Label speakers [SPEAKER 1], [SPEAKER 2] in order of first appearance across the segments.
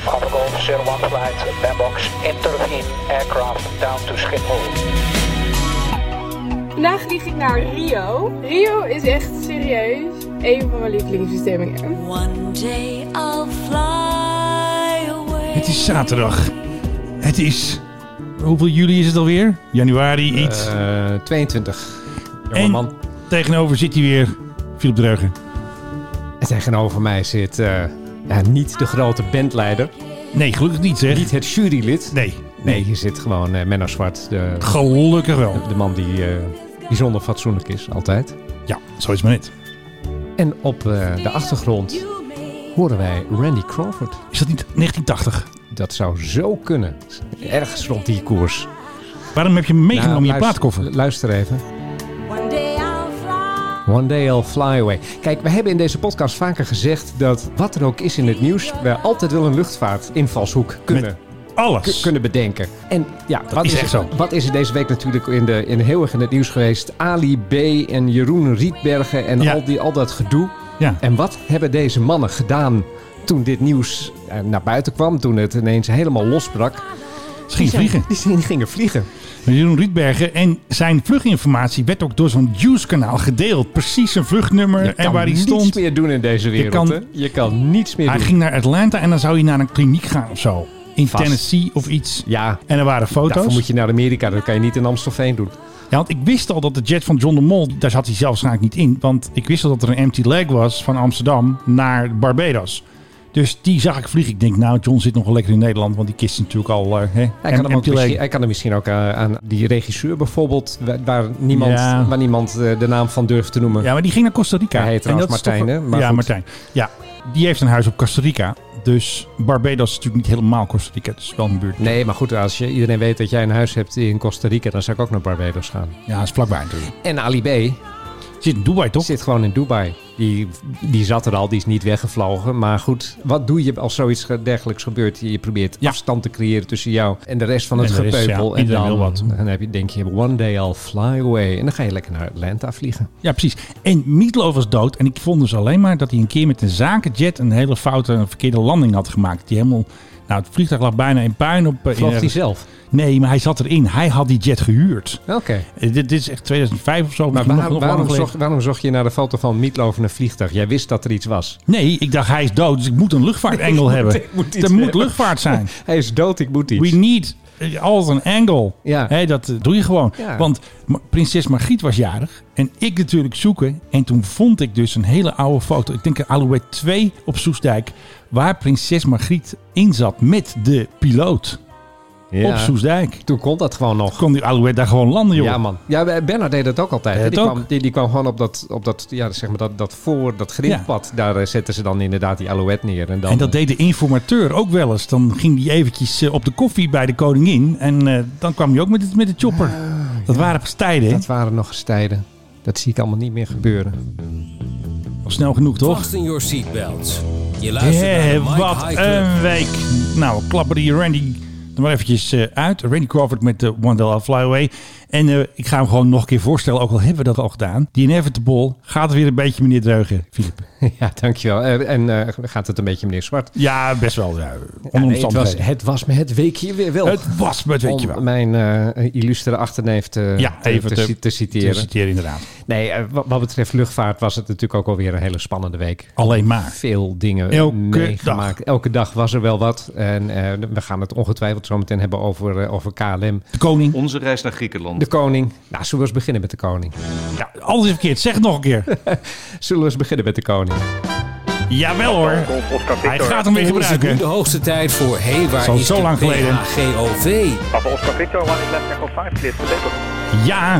[SPEAKER 1] Tropical 01 flight, Bambox, Intervene aircraft down to Schiphol.
[SPEAKER 2] Vandaag vlieg ik naar Rio. Rio is echt serieus een van mijn lievelingsbestemmingen.
[SPEAKER 3] One day I'll fly away.
[SPEAKER 4] Het is zaterdag. Het is. Hoeveel juli is het alweer? Januari, iets.
[SPEAKER 5] Eh, 22. Jonge
[SPEAKER 4] En-
[SPEAKER 5] man.
[SPEAKER 4] Tegenover zit hij weer. Philip Dreugen.
[SPEAKER 5] En tegenover mij zit eh, ja, niet de grote bandleider.
[SPEAKER 4] Nee, gelukkig niet zeg.
[SPEAKER 5] Niet het jurylid.
[SPEAKER 4] Nee.
[SPEAKER 5] Nee, hier zit gewoon eh, Menno Zwart. De,
[SPEAKER 4] Gelukkig wel.
[SPEAKER 5] de man die eh, bijzonder fatsoenlijk is, altijd.
[SPEAKER 4] Ja, zo is maar net.
[SPEAKER 5] En op eh, de achtergrond horen wij Randy Crawford.
[SPEAKER 4] Is dat niet 1980?
[SPEAKER 5] Dat zou zo kunnen. Ergens rond die koers.
[SPEAKER 4] Waarom heb je hem meegenomen
[SPEAKER 5] Nou,
[SPEAKER 4] in je plaatkoffer?
[SPEAKER 5] Luister even.
[SPEAKER 3] One day I'll fly.
[SPEAKER 5] One day I'll fly away. Kijk, we hebben in deze podcast vaker gezegd dat wat er ook is in het nieuws, we altijd wel een luchtvaartinvalshoek kunnen,
[SPEAKER 4] Alles.
[SPEAKER 5] k- kunnen bedenken. En ja, wat
[SPEAKER 4] is
[SPEAKER 5] er-
[SPEAKER 4] echt zo.
[SPEAKER 5] Wat is er deze week natuurlijk in, de, in heel erg in het nieuws geweest? Ali B. en Jeroen Rietbergen en
[SPEAKER 4] Ja.
[SPEAKER 5] al, die, al dat gedoe.
[SPEAKER 4] Ja.
[SPEAKER 5] En wat hebben deze mannen gedaan toen dit nieuws eh, naar buiten kwam, toen het ineens helemaal losbrak?
[SPEAKER 4] Ze gingen vliegen.
[SPEAKER 5] Die, zijn- die gingen vliegen.
[SPEAKER 4] Jeroen Rietbergen. En zijn vluchtinformatie werd ook door zo'n Juice-kanaal gedeeld. Precies zijn vluchtnummer
[SPEAKER 5] Je
[SPEAKER 4] en
[SPEAKER 5] kan
[SPEAKER 4] waar hij
[SPEAKER 5] niets
[SPEAKER 4] stond.
[SPEAKER 5] meer doen in deze wereld.
[SPEAKER 4] kan-
[SPEAKER 5] hè? je kan niets meer
[SPEAKER 4] Hij
[SPEAKER 5] doen.
[SPEAKER 4] ging naar Atlanta en dan zou hij naar een kliniek gaan of zo. In
[SPEAKER 5] Vast.
[SPEAKER 4] Tennessee of iets.
[SPEAKER 5] Ja,
[SPEAKER 4] En er waren foto's.
[SPEAKER 5] Daarvoor moet je naar Amerika, dat kan je niet in Amstelveen doen.
[SPEAKER 4] Ja, want ik wist al dat de jet van John de Mol, daar zat hij zelf waarschijnlijk niet in. Want ik wist al dat er een empty leg was van Amsterdam naar Barbados. Dus die zag ik vliegen. Ik denk, nou, John zit nog wel lekker in Nederland, want die kist is natuurlijk al eh, hè,
[SPEAKER 5] Hij kan, hem ook
[SPEAKER 4] empty leg.
[SPEAKER 5] misschien, hij kan hem misschien ook eh, aan die regisseur bijvoorbeeld, wa- waar niemand,
[SPEAKER 4] Ja.
[SPEAKER 5] waar niemand eh, de naam van durft te noemen.
[SPEAKER 4] Ja, maar die ging naar Costa Rica.
[SPEAKER 5] Hij heet
[SPEAKER 4] En dat
[SPEAKER 5] trouwens
[SPEAKER 4] is toch
[SPEAKER 5] Martijn,
[SPEAKER 4] wel-
[SPEAKER 5] hè? Maar
[SPEAKER 4] ja,
[SPEAKER 5] goed.
[SPEAKER 4] Martijn. Ja, die heeft een huis op Costa Rica. Dus Barbados is natuurlijk niet helemaal Costa Rica. Het is wel een buurt.
[SPEAKER 5] Nee, maar goed, als je, iedereen weet dat jij een huis hebt in Costa Rica, dan zou ik ook naar Barbados gaan.
[SPEAKER 4] Ja, het is vlakbij natuurlijk.
[SPEAKER 5] En Ali B.
[SPEAKER 4] Zit in Dubai, toch?
[SPEAKER 5] zit gewoon in Dubai. Die, die zat er al, die is niet weggevlogen. Maar goed, wat doe je als zoiets ge- dergelijks gebeurt? Je probeert
[SPEAKER 4] Ja.
[SPEAKER 5] afstand te creëren tussen jou en de rest van het
[SPEAKER 4] En de rest,
[SPEAKER 5] gepeupel.
[SPEAKER 4] ja,
[SPEAKER 5] en
[SPEAKER 4] iedereen
[SPEAKER 5] dan,
[SPEAKER 4] wil wat.
[SPEAKER 5] dan heb je, denk je, one day I'll fly away. En dan ga je lekker naar Atlanta vliegen.
[SPEAKER 4] Ja, precies. En Meatloaf was dood. En ik vond dus alleen maar dat hij een keer met een zakenjet een hele foute, een verkeerde landing had gemaakt. Die helemaal... Nou, het vliegtuig lag bijna in puin op... eh, in
[SPEAKER 5] Vloog hij
[SPEAKER 4] ergens-
[SPEAKER 5] zelf?
[SPEAKER 4] Nee, maar hij zat erin. Hij had die jet gehuurd.
[SPEAKER 5] Oké.
[SPEAKER 4] Eh, dit, dit is echt 2005 of zo.
[SPEAKER 5] Maar
[SPEAKER 4] misschien
[SPEAKER 5] waar-
[SPEAKER 4] nog- nog
[SPEAKER 5] waarom,
[SPEAKER 4] langer
[SPEAKER 5] zocht,
[SPEAKER 4] geleden.
[SPEAKER 5] waarom zocht je naar de foto van Mietloof en een vliegtuig? Jij wist dat er iets was.
[SPEAKER 4] Nee, ik dacht hij is dood, dus ik moet een luchtvaartengel hebben.
[SPEAKER 5] ik moet iets
[SPEAKER 4] er moet
[SPEAKER 5] hebben.
[SPEAKER 4] luchtvaart zijn.
[SPEAKER 5] Hij is dood, ik moet iets.
[SPEAKER 4] We need eh, altijd een angle.
[SPEAKER 5] Ja.
[SPEAKER 4] Hè, dat eh, doe je gewoon.
[SPEAKER 5] Ja.
[SPEAKER 4] Want Ma- prinses Margriet was jarig. En ik natuurlijk zoeken. En toen vond ik dus een hele oude foto. Ik denk een Alouette 2 op Soesdijk. Waar prinses Margriet in zat met de piloot
[SPEAKER 5] Ja.
[SPEAKER 4] op Soesdijk.
[SPEAKER 5] Toen kon dat gewoon nog.
[SPEAKER 4] Kon die Alouette daar gewoon landen, joh.
[SPEAKER 5] Ja, man. Ja, Bernard deed dat ook altijd.
[SPEAKER 4] Deed
[SPEAKER 5] hè?
[SPEAKER 4] het
[SPEAKER 5] die,
[SPEAKER 4] ook.
[SPEAKER 5] Kwam, die, die kwam gewoon op dat, op dat, ja, zeg maar dat, dat voor, dat grindpad. Daar eh, zetten ze dan inderdaad die alouette neer. En, dan,
[SPEAKER 4] En dat
[SPEAKER 5] eh,
[SPEAKER 4] deed de informateur ook wel eens. Dan ging hij eventjes eh, op de koffie bij de koningin. En eh, dan kwam hij ook met, het- met de chopper.
[SPEAKER 5] Ah,
[SPEAKER 4] dat waren pas tijden, hè?
[SPEAKER 5] dat waren nog eens tijden. Dat zie ik allemaal niet meer gebeuren.
[SPEAKER 4] Al snel genoeg, toch?
[SPEAKER 6] Fasten your seatbelts. Je luistert
[SPEAKER 4] Hé,
[SPEAKER 6] naar de Mike
[SPEAKER 4] wat
[SPEAKER 6] High Club.
[SPEAKER 4] een week. Nou, we klappen die Randy er maar eventjes eh, uit. Randy Crawford met de One Day I'll Fly Away. En eh, ik ga hem gewoon nog een keer voorstellen, ook al hebben we dat al gedaan. Die Inevitable gaat weer een beetje meneer Dreugen, Filip.
[SPEAKER 5] ja, dankjewel. Eh, en eh, gaat het een beetje meneer Zwart?
[SPEAKER 4] Ja, best wel. Ja,
[SPEAKER 5] Ja, nee, het, was,
[SPEAKER 4] onomstandigheden.
[SPEAKER 5] het was me het weekje weer wel.
[SPEAKER 4] het was, maar het weet je
[SPEAKER 5] Om
[SPEAKER 4] wel.
[SPEAKER 5] mijn eh, illustere achterneef te,
[SPEAKER 4] Ja,
[SPEAKER 5] te-
[SPEAKER 4] even
[SPEAKER 5] te,
[SPEAKER 4] te-
[SPEAKER 5] ci- te
[SPEAKER 4] Te
[SPEAKER 5] citeren.
[SPEAKER 4] citeren inderdaad.
[SPEAKER 5] nee, eh, wat, wat betreft luchtvaart was het natuurlijk ook alweer een hele spannende week.
[SPEAKER 4] Alleen maar.
[SPEAKER 5] Veel dingen
[SPEAKER 4] Elke
[SPEAKER 5] meegemaakt. Elke dag was er wel wat. En eh, we gaan het ongetwijfeld zo meteen hebben over, eh, over KLM.
[SPEAKER 4] De koning.
[SPEAKER 7] Onze reis naar Griekenland.
[SPEAKER 5] De koning. Nou, zullen we eens beginnen met de koning?
[SPEAKER 4] Ja, alles is verkeerd. Zeg het nog een keer.
[SPEAKER 5] Zullen we eens beginnen met de koning?
[SPEAKER 4] Jawel hoor. Hij gaat hem weer
[SPEAKER 6] Dan is het nu
[SPEAKER 4] gebruiken.
[SPEAKER 6] de hoogste tijd voor Hé, waar
[SPEAKER 4] Zo-
[SPEAKER 6] is
[SPEAKER 4] zo
[SPEAKER 6] de
[SPEAKER 4] lang geleden.
[SPEAKER 6] PHGOV?
[SPEAKER 4] Ja.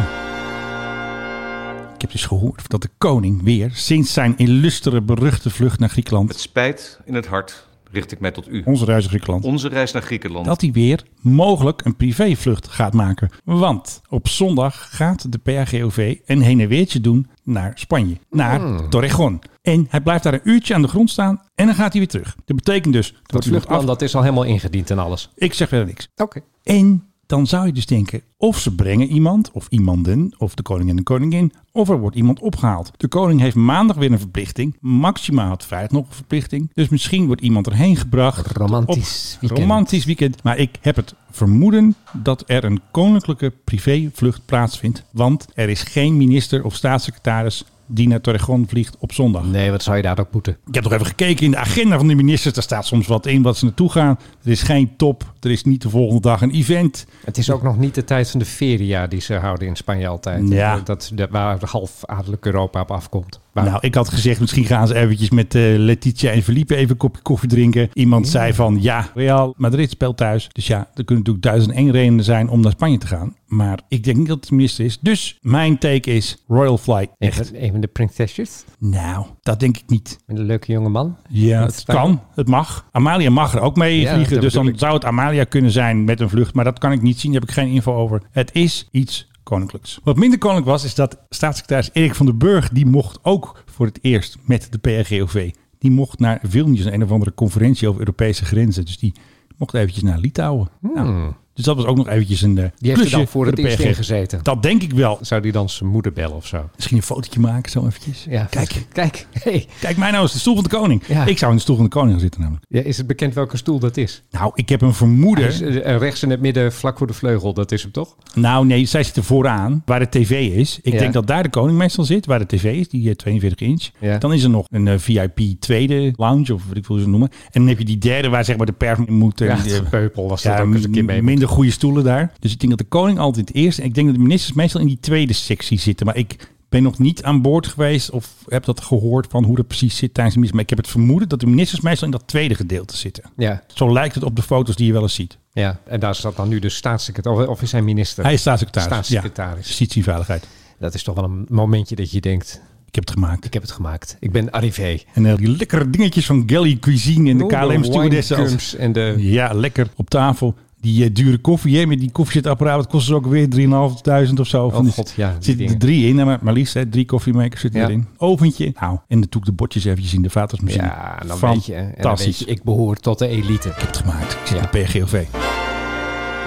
[SPEAKER 4] Ik heb dus gehoord dat de koning weer, sinds zijn illustere beruchte vlucht naar Griekenland,
[SPEAKER 7] Met spijt in het hart richt ik mij tot u.
[SPEAKER 4] onze reis naar Griekenland,
[SPEAKER 7] Onze reis naar Griekenland.
[SPEAKER 4] dat hij weer mogelijk een privévlucht gaat maken. Want op zondag gaat de PHGOV een heen en weertje doen naar Spanje, naar
[SPEAKER 5] Hmm.
[SPEAKER 4] Torrejon. En hij blijft daar een uurtje aan de grond staan en dan gaat hij weer terug. Dat betekent dus dat
[SPEAKER 5] Dat
[SPEAKER 4] hij nog
[SPEAKER 5] vluchtplan
[SPEAKER 4] af...
[SPEAKER 5] dat is al helemaal ingediend en alles.
[SPEAKER 4] Ik zeg verder niks.
[SPEAKER 5] Oké.
[SPEAKER 4] En dan zou je dus denken, of ze brengen iemand, of iemanden, of de koning en de koningin, of er wordt iemand opgehaald. De koning heeft maandag weer een verplichting. Maxima had vrijdag nog een verplichting. Dus misschien wordt iemand erheen gebracht.
[SPEAKER 5] Romantisch
[SPEAKER 4] Op-
[SPEAKER 5] weekend.
[SPEAKER 4] Romantisch weekend. Maar ik heb het vermoeden dat er een koninklijke privévlucht plaatsvindt. Want er is geen minister of staatssecretaris die naar Torregon vliegt op zondag.
[SPEAKER 5] Nee, wat zou je daar ook moeten?
[SPEAKER 4] Ik heb nog even gekeken in de agenda van de ministers. Daar staat soms wat in wat ze naartoe gaan. Er is geen top. Er is niet de volgende dag een event.
[SPEAKER 5] Het is ook nog niet de tijd van de feria die ze houden in Spanje altijd.
[SPEAKER 4] Ja.
[SPEAKER 5] Dat, dat, waar half adellijk Europa op afkomt. Maar
[SPEAKER 4] Nou, ik had gezegd, misschien gaan ze eventjes met eh, Letitia en Felipe even een kopje koffie drinken. Iemand zei van, ja, Real Madrid speelt thuis. Dus ja, er kunnen natuurlijk duizend en één redenen zijn om naar Spanje te gaan. Maar ik denk niet dat het de minister is. Dus mijn take is Royal Flight.
[SPEAKER 5] een
[SPEAKER 4] Echt?
[SPEAKER 5] van- een van de prinsesjes.
[SPEAKER 4] Nou, dat denk ik niet.
[SPEAKER 5] Een leuke jonge man.
[SPEAKER 4] Ja,
[SPEAKER 5] Dat
[SPEAKER 4] het
[SPEAKER 5] Spanje.
[SPEAKER 4] kan. Het mag. Amalia mag er ook mee
[SPEAKER 5] Ja,
[SPEAKER 4] vliegen.
[SPEAKER 5] dat
[SPEAKER 4] Dus dan
[SPEAKER 5] bedoel ik.
[SPEAKER 4] zou het Amalia kunnen zijn met een vlucht. Maar dat kan ik niet zien. Daar heb ik geen info over. Het is iets koninklijks. Wat minder koninklijk was, is dat staatssecretaris Erik van den Burg... die mocht ook voor het eerst met de PRGOV... die mocht naar Vilnius, een of andere conferentie over Europese grenzen. Dus die mocht eventjes naar Litouwen. Nou, dus dat was ook nog eventjes een eh,
[SPEAKER 5] Hmm. Die heeft er
[SPEAKER 4] plusje
[SPEAKER 5] dan voor het
[SPEAKER 4] de
[SPEAKER 5] eerst
[SPEAKER 4] PRG.
[SPEAKER 5] in gezeten.
[SPEAKER 4] Dat denk ik wel.
[SPEAKER 5] Zou die dan zijn moeder bellen of zo?
[SPEAKER 4] Misschien een fotootje maken, zo eventjes.
[SPEAKER 5] Ja,
[SPEAKER 4] Kijk,
[SPEAKER 5] Kijk. Hey.
[SPEAKER 4] kijk mij nou eens, de stoel van de koning.
[SPEAKER 5] Ja.
[SPEAKER 4] Ik zou in de stoel van de koning gaan zitten namelijk.
[SPEAKER 5] Ja, is het bekend welke stoel dat is?
[SPEAKER 4] Nou, ik heb een vermoeden.
[SPEAKER 5] Hij is, eh, rechts in het midden, vlak voor de vleugel. Dat is hem toch?
[SPEAKER 4] Nou, nee, zij zitten vooraan, waar de tv is. Ik
[SPEAKER 5] Ja.
[SPEAKER 4] denk dat daar de koning meestal zit, waar de tv is, die eh, 42 inch.
[SPEAKER 5] Ja.
[SPEAKER 4] Dan is er nog een eh, VIP tweede lounge, of wat ik wil ze noemen. En dan heb je die derde, waar zeg maar de pers moet... eh,
[SPEAKER 5] Ja,
[SPEAKER 4] die,
[SPEAKER 5] het
[SPEAKER 4] eh,
[SPEAKER 5] gepeupel was
[SPEAKER 4] ja,
[SPEAKER 5] dat ook eens een keer mee.
[SPEAKER 4] minder goede stoelen daar. Dus ik denk dat de koning altijd het eerste... En ik denk dat de ministers meestal in die tweede sectie zitten. Maar ik ben nog niet aan boord geweest of heb dat gehoord van hoe dat precies zit tijdens de mis. Maar ik heb het vermoeden dat de ministers meestal in dat tweede gedeelte zitten.
[SPEAKER 5] Ja,
[SPEAKER 4] Zo lijkt het op de foto's die je wel eens ziet.
[SPEAKER 5] ja, en daar zat dan nu de staatssecretaris, of is hij minister?
[SPEAKER 4] Hij is staatssecretaris.
[SPEAKER 5] Staatssecretaris.
[SPEAKER 4] Ja, justitie en veiligheid.
[SPEAKER 5] Dat is toch wel een momentje dat je denkt,
[SPEAKER 4] Ik heb het gemaakt.
[SPEAKER 5] ik heb het gemaakt. Ik ben arrivé.
[SPEAKER 4] En eh, die lekkere dingetjes van Galley Cuisine en de KLM stewardessen. als-
[SPEAKER 5] Cums en de...
[SPEAKER 4] Ja, lekker op tafel. Die eh, dure koffie, hè, met die koffiezetapparaat, dat kost dus ook weer 3.500 of zo.
[SPEAKER 5] Oh
[SPEAKER 4] die-
[SPEAKER 5] god, ja, die
[SPEAKER 4] zitten er
[SPEAKER 5] dingen.
[SPEAKER 4] drie in, hè, maar, maar liefst hè, drie koffiemakers zitten
[SPEAKER 5] Ja.
[SPEAKER 4] erin. Oventje. Nou, en natuurlijk de bordjes eventjes in de vatersmachine.
[SPEAKER 5] Ja, nou, dan weet je. En dan weet
[SPEAKER 4] Fantastisch.
[SPEAKER 5] je, ik behoor tot de elite.
[SPEAKER 4] Ik heb het gemaakt. Ik zit
[SPEAKER 5] Ja.
[SPEAKER 4] op PGOV.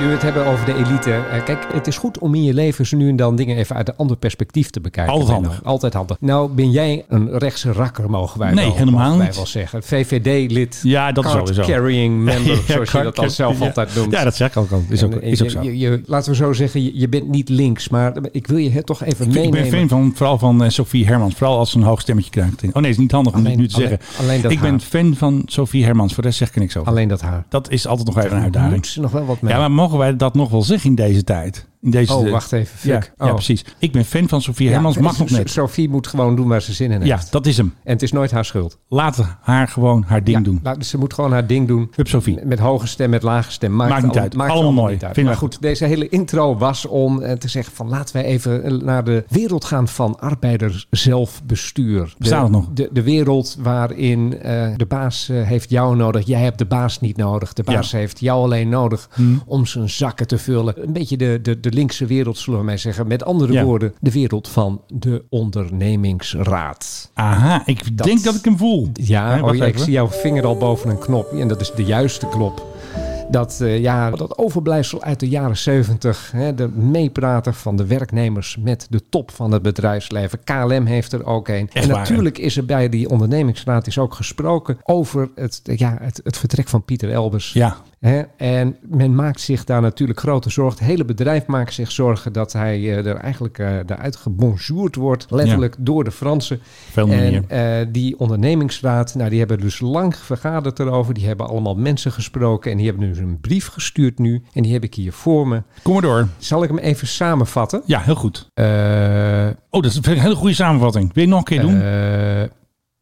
[SPEAKER 5] Nu we het hebben over de elite. eh, kijk, het is goed om in je leven zo nu en dan dingen even uit een ander perspectief te bekijken.
[SPEAKER 4] Altijd
[SPEAKER 5] Menno.
[SPEAKER 4] handig.
[SPEAKER 5] Altijd handig. Nou, ben jij een rechtse rakker, mogen wij,
[SPEAKER 4] Nee,
[SPEAKER 5] wel,
[SPEAKER 4] helemaal
[SPEAKER 5] mogen wij
[SPEAKER 4] niet.
[SPEAKER 5] wel zeggen. VVD-lid.
[SPEAKER 4] Ja, dat is sowieso.
[SPEAKER 5] carrying member,
[SPEAKER 4] Ja,
[SPEAKER 5] zoals je dat dan
[SPEAKER 4] card-
[SPEAKER 5] zelf
[SPEAKER 4] ja.
[SPEAKER 5] altijd noemt.
[SPEAKER 4] Ja, dat zeg ik ook al. Is ook,
[SPEAKER 5] En, eh,
[SPEAKER 4] is ook
[SPEAKER 5] je-
[SPEAKER 4] zo.
[SPEAKER 5] je- je- laten we zo zeggen, je, je bent niet links, maar ik wil je het toch even
[SPEAKER 4] Ik
[SPEAKER 5] meenemen.
[SPEAKER 4] ben fan van, vooral van eh, Sophie Hermans. Vooral als ze een hoog stemmetje krijgt. Oh nee, is niet handig om dit
[SPEAKER 5] Alleen-
[SPEAKER 4] nu te
[SPEAKER 5] alleen-
[SPEAKER 4] zeggen.
[SPEAKER 5] alleen dat
[SPEAKER 4] ik ben
[SPEAKER 5] haar.
[SPEAKER 4] fan van Sophie Hermans. Voor de rest zeg ik er niks over.
[SPEAKER 5] Alleen dat haar.
[SPEAKER 4] Dat is altijd nog even een uitdaging.
[SPEAKER 5] Moet ze nog wel wat mee.
[SPEAKER 4] Ja, maar mogen wij dat nog wel zeggen in deze tijd? In deze
[SPEAKER 5] Oh, wacht even, fuck.
[SPEAKER 4] Ja, ja,
[SPEAKER 5] Oh.
[SPEAKER 4] precies. Ik ben fan van Sofie
[SPEAKER 5] Ja,
[SPEAKER 4] Hermans. Mag
[SPEAKER 5] S-
[SPEAKER 4] nog net.
[SPEAKER 5] Sophie moet gewoon doen waar ze zin in
[SPEAKER 4] Ja,
[SPEAKER 5] heeft.
[SPEAKER 4] dat is hem.
[SPEAKER 5] En het is nooit haar schuld.
[SPEAKER 4] Laat haar gewoon haar ding
[SPEAKER 5] Ja,
[SPEAKER 4] doen.
[SPEAKER 5] laat- ze moet gewoon haar ding doen.
[SPEAKER 4] Hup, Sophie.
[SPEAKER 5] Met hoge stem, met lage stem. Maakt,
[SPEAKER 4] Maakt niet
[SPEAKER 5] al-
[SPEAKER 4] uit.
[SPEAKER 5] maakt
[SPEAKER 4] Allemaal mooi.
[SPEAKER 5] niet uit.
[SPEAKER 4] Vinden
[SPEAKER 5] Maar
[SPEAKER 4] wij
[SPEAKER 5] goed, deze hele intro was om eh, te zeggen van laten wij even eh, naar de wereld gaan van arbeiderszelfbestuur.
[SPEAKER 4] Bestaat het nog?
[SPEAKER 5] De, de wereld waarin eh, de baas eh, heeft jou nodig. Jij hebt de baas niet nodig. De baas heeft jou alleen nodig
[SPEAKER 4] Hmm.
[SPEAKER 5] om zijn zakken te vullen. Een beetje de, de, de linkse wereld, zullen we maar zeggen. Met andere
[SPEAKER 4] Ja.
[SPEAKER 5] woorden, de wereld van de ondernemingsraad.
[SPEAKER 4] Aha, ik denk dat ik hem voel.
[SPEAKER 5] Ja,
[SPEAKER 4] Hè,
[SPEAKER 5] oh
[SPEAKER 4] wacht
[SPEAKER 5] ja, ik
[SPEAKER 4] even.
[SPEAKER 5] zie jouw vinger al boven een knop. En dat is de juiste knop. Dat, eh, ja, dat overblijfsel uit de jaren 70, Hè, de meeprater van de werknemers met de top van het bedrijfsleven. KLM heeft er ook een.
[SPEAKER 4] Echt
[SPEAKER 5] en
[SPEAKER 4] waar,
[SPEAKER 5] natuurlijk is er bij die ondernemingsraad is ook gesproken over het, eh, ja, het, het vertrek van Pieter Elbers.
[SPEAKER 4] Ja,
[SPEAKER 5] Hè? En men maakt zich daar natuurlijk grote zorgen. Het hele bedrijf maakt zich zorgen dat hij eh, er eigenlijk eh eruit gebonjourd wordt. Letterlijk door de Fransen.
[SPEAKER 4] veel
[SPEAKER 5] En
[SPEAKER 4] meer.
[SPEAKER 5] eh, die ondernemingsraad, nou, die hebben dus lang vergaderd erover. Die hebben allemaal mensen gesproken en die hebben dus een brief gestuurd nu. En die heb ik hier voor me.
[SPEAKER 4] Kom maar door.
[SPEAKER 5] Zal ik hem even samenvatten?
[SPEAKER 4] Ja, heel goed.
[SPEAKER 5] Eh,
[SPEAKER 4] Oh, dat is een hele goede samenvatting. Wil je nog een keer doen?
[SPEAKER 5] eh,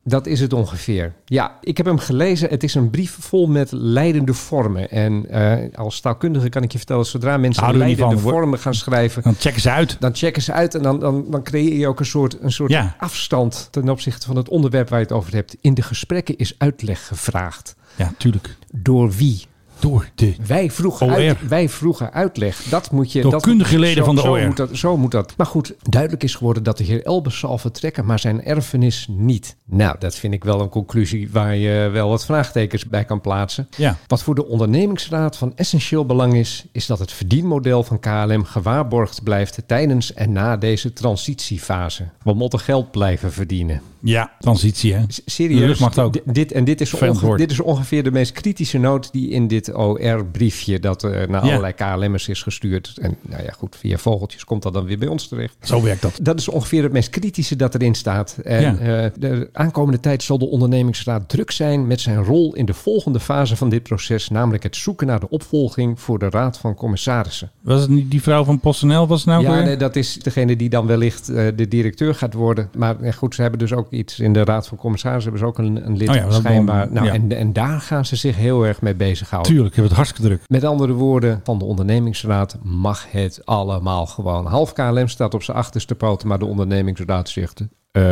[SPEAKER 5] dat is het ongeveer. Ja, ik heb hem gelezen. Het is een brief vol met leidende vormen. En eh, als taalkundige kan ik je vertellen, zodra mensen
[SPEAKER 4] Houden we niet
[SPEAKER 5] leidende
[SPEAKER 4] van, hoor.
[SPEAKER 5] vormen gaan schrijven,
[SPEAKER 4] Dan checken ze uit.
[SPEAKER 5] dan checken ze uit en dan, dan, dan creëer je ook een soort, een soort
[SPEAKER 4] Ja.
[SPEAKER 5] afstand ten opzichte van het onderwerp waar je het over hebt. In de gesprekken is uitleg gevraagd.
[SPEAKER 4] Ja, tuurlijk.
[SPEAKER 5] Door wie?
[SPEAKER 4] Door de...
[SPEAKER 5] Wij vroegen,
[SPEAKER 4] OR.
[SPEAKER 5] uit- wij vroegen uitleg. Dat moet je.
[SPEAKER 4] Door
[SPEAKER 5] dat,
[SPEAKER 4] kundige leden
[SPEAKER 5] zo-
[SPEAKER 4] van de
[SPEAKER 5] zo
[SPEAKER 4] OR.
[SPEAKER 5] Moet dat, zo moet dat. Maar goed, duidelijk is geworden dat de heer Elbers zal vertrekken, maar zijn erfenis niet. Nou, dat vind ik wel een conclusie waar je wel wat vraagtekens bij kan plaatsen.
[SPEAKER 4] Ja.
[SPEAKER 5] Wat voor de ondernemingsraad van essentieel belang is, is dat het verdienmodel van KLM gewaarborgd blijft tijdens en na deze transitiefase. We moeten geld blijven verdienen.
[SPEAKER 4] Ja, transitie hè.
[SPEAKER 5] S- Serieus,
[SPEAKER 4] De luchtmacht ook.
[SPEAKER 5] D- Dit, en dit is,
[SPEAKER 4] Vervelend
[SPEAKER 5] onge-
[SPEAKER 4] woord.
[SPEAKER 5] dit is ongeveer de meest kritische noot die in dit OR-briefje dat eh, naar
[SPEAKER 4] Ja.
[SPEAKER 5] allerlei KLM'ers is gestuurd. En nou ja, goed, via vogeltjes komt dat dan weer bij ons terecht.
[SPEAKER 4] Zo werkt dat.
[SPEAKER 5] Dat is ongeveer het meest kritische dat erin staat. En
[SPEAKER 4] Ja.
[SPEAKER 5] eh, de aankomende tijd zal de ondernemingsraad druk zijn met zijn rol in de volgende fase van dit proces, namelijk het zoeken naar de opvolging voor de Raad van Commissarissen.
[SPEAKER 4] Was het niet die vrouw van PostNL was het nou
[SPEAKER 5] Ja,
[SPEAKER 4] weer?
[SPEAKER 5] nee, dat is degene die dan wellicht eh, de directeur gaat worden. Maar eh, goed, ze hebben dus ook iets in de Raad van Commissarissen. Hebben ze ook een, een lid
[SPEAKER 4] Oh ja, dat
[SPEAKER 5] schijnbaar.
[SPEAKER 4] dan-
[SPEAKER 5] nou,
[SPEAKER 4] ja.
[SPEAKER 5] en, en daar gaan ze zich heel erg mee bezighouden.
[SPEAKER 4] Tuurlijk, hebben we het hartstikke druk.
[SPEAKER 5] Met andere woorden, van de ondernemingsraad mag het allemaal gewoon. Half KLM staat op zijn achterste poten, maar de ondernemingsraad zegt... eh,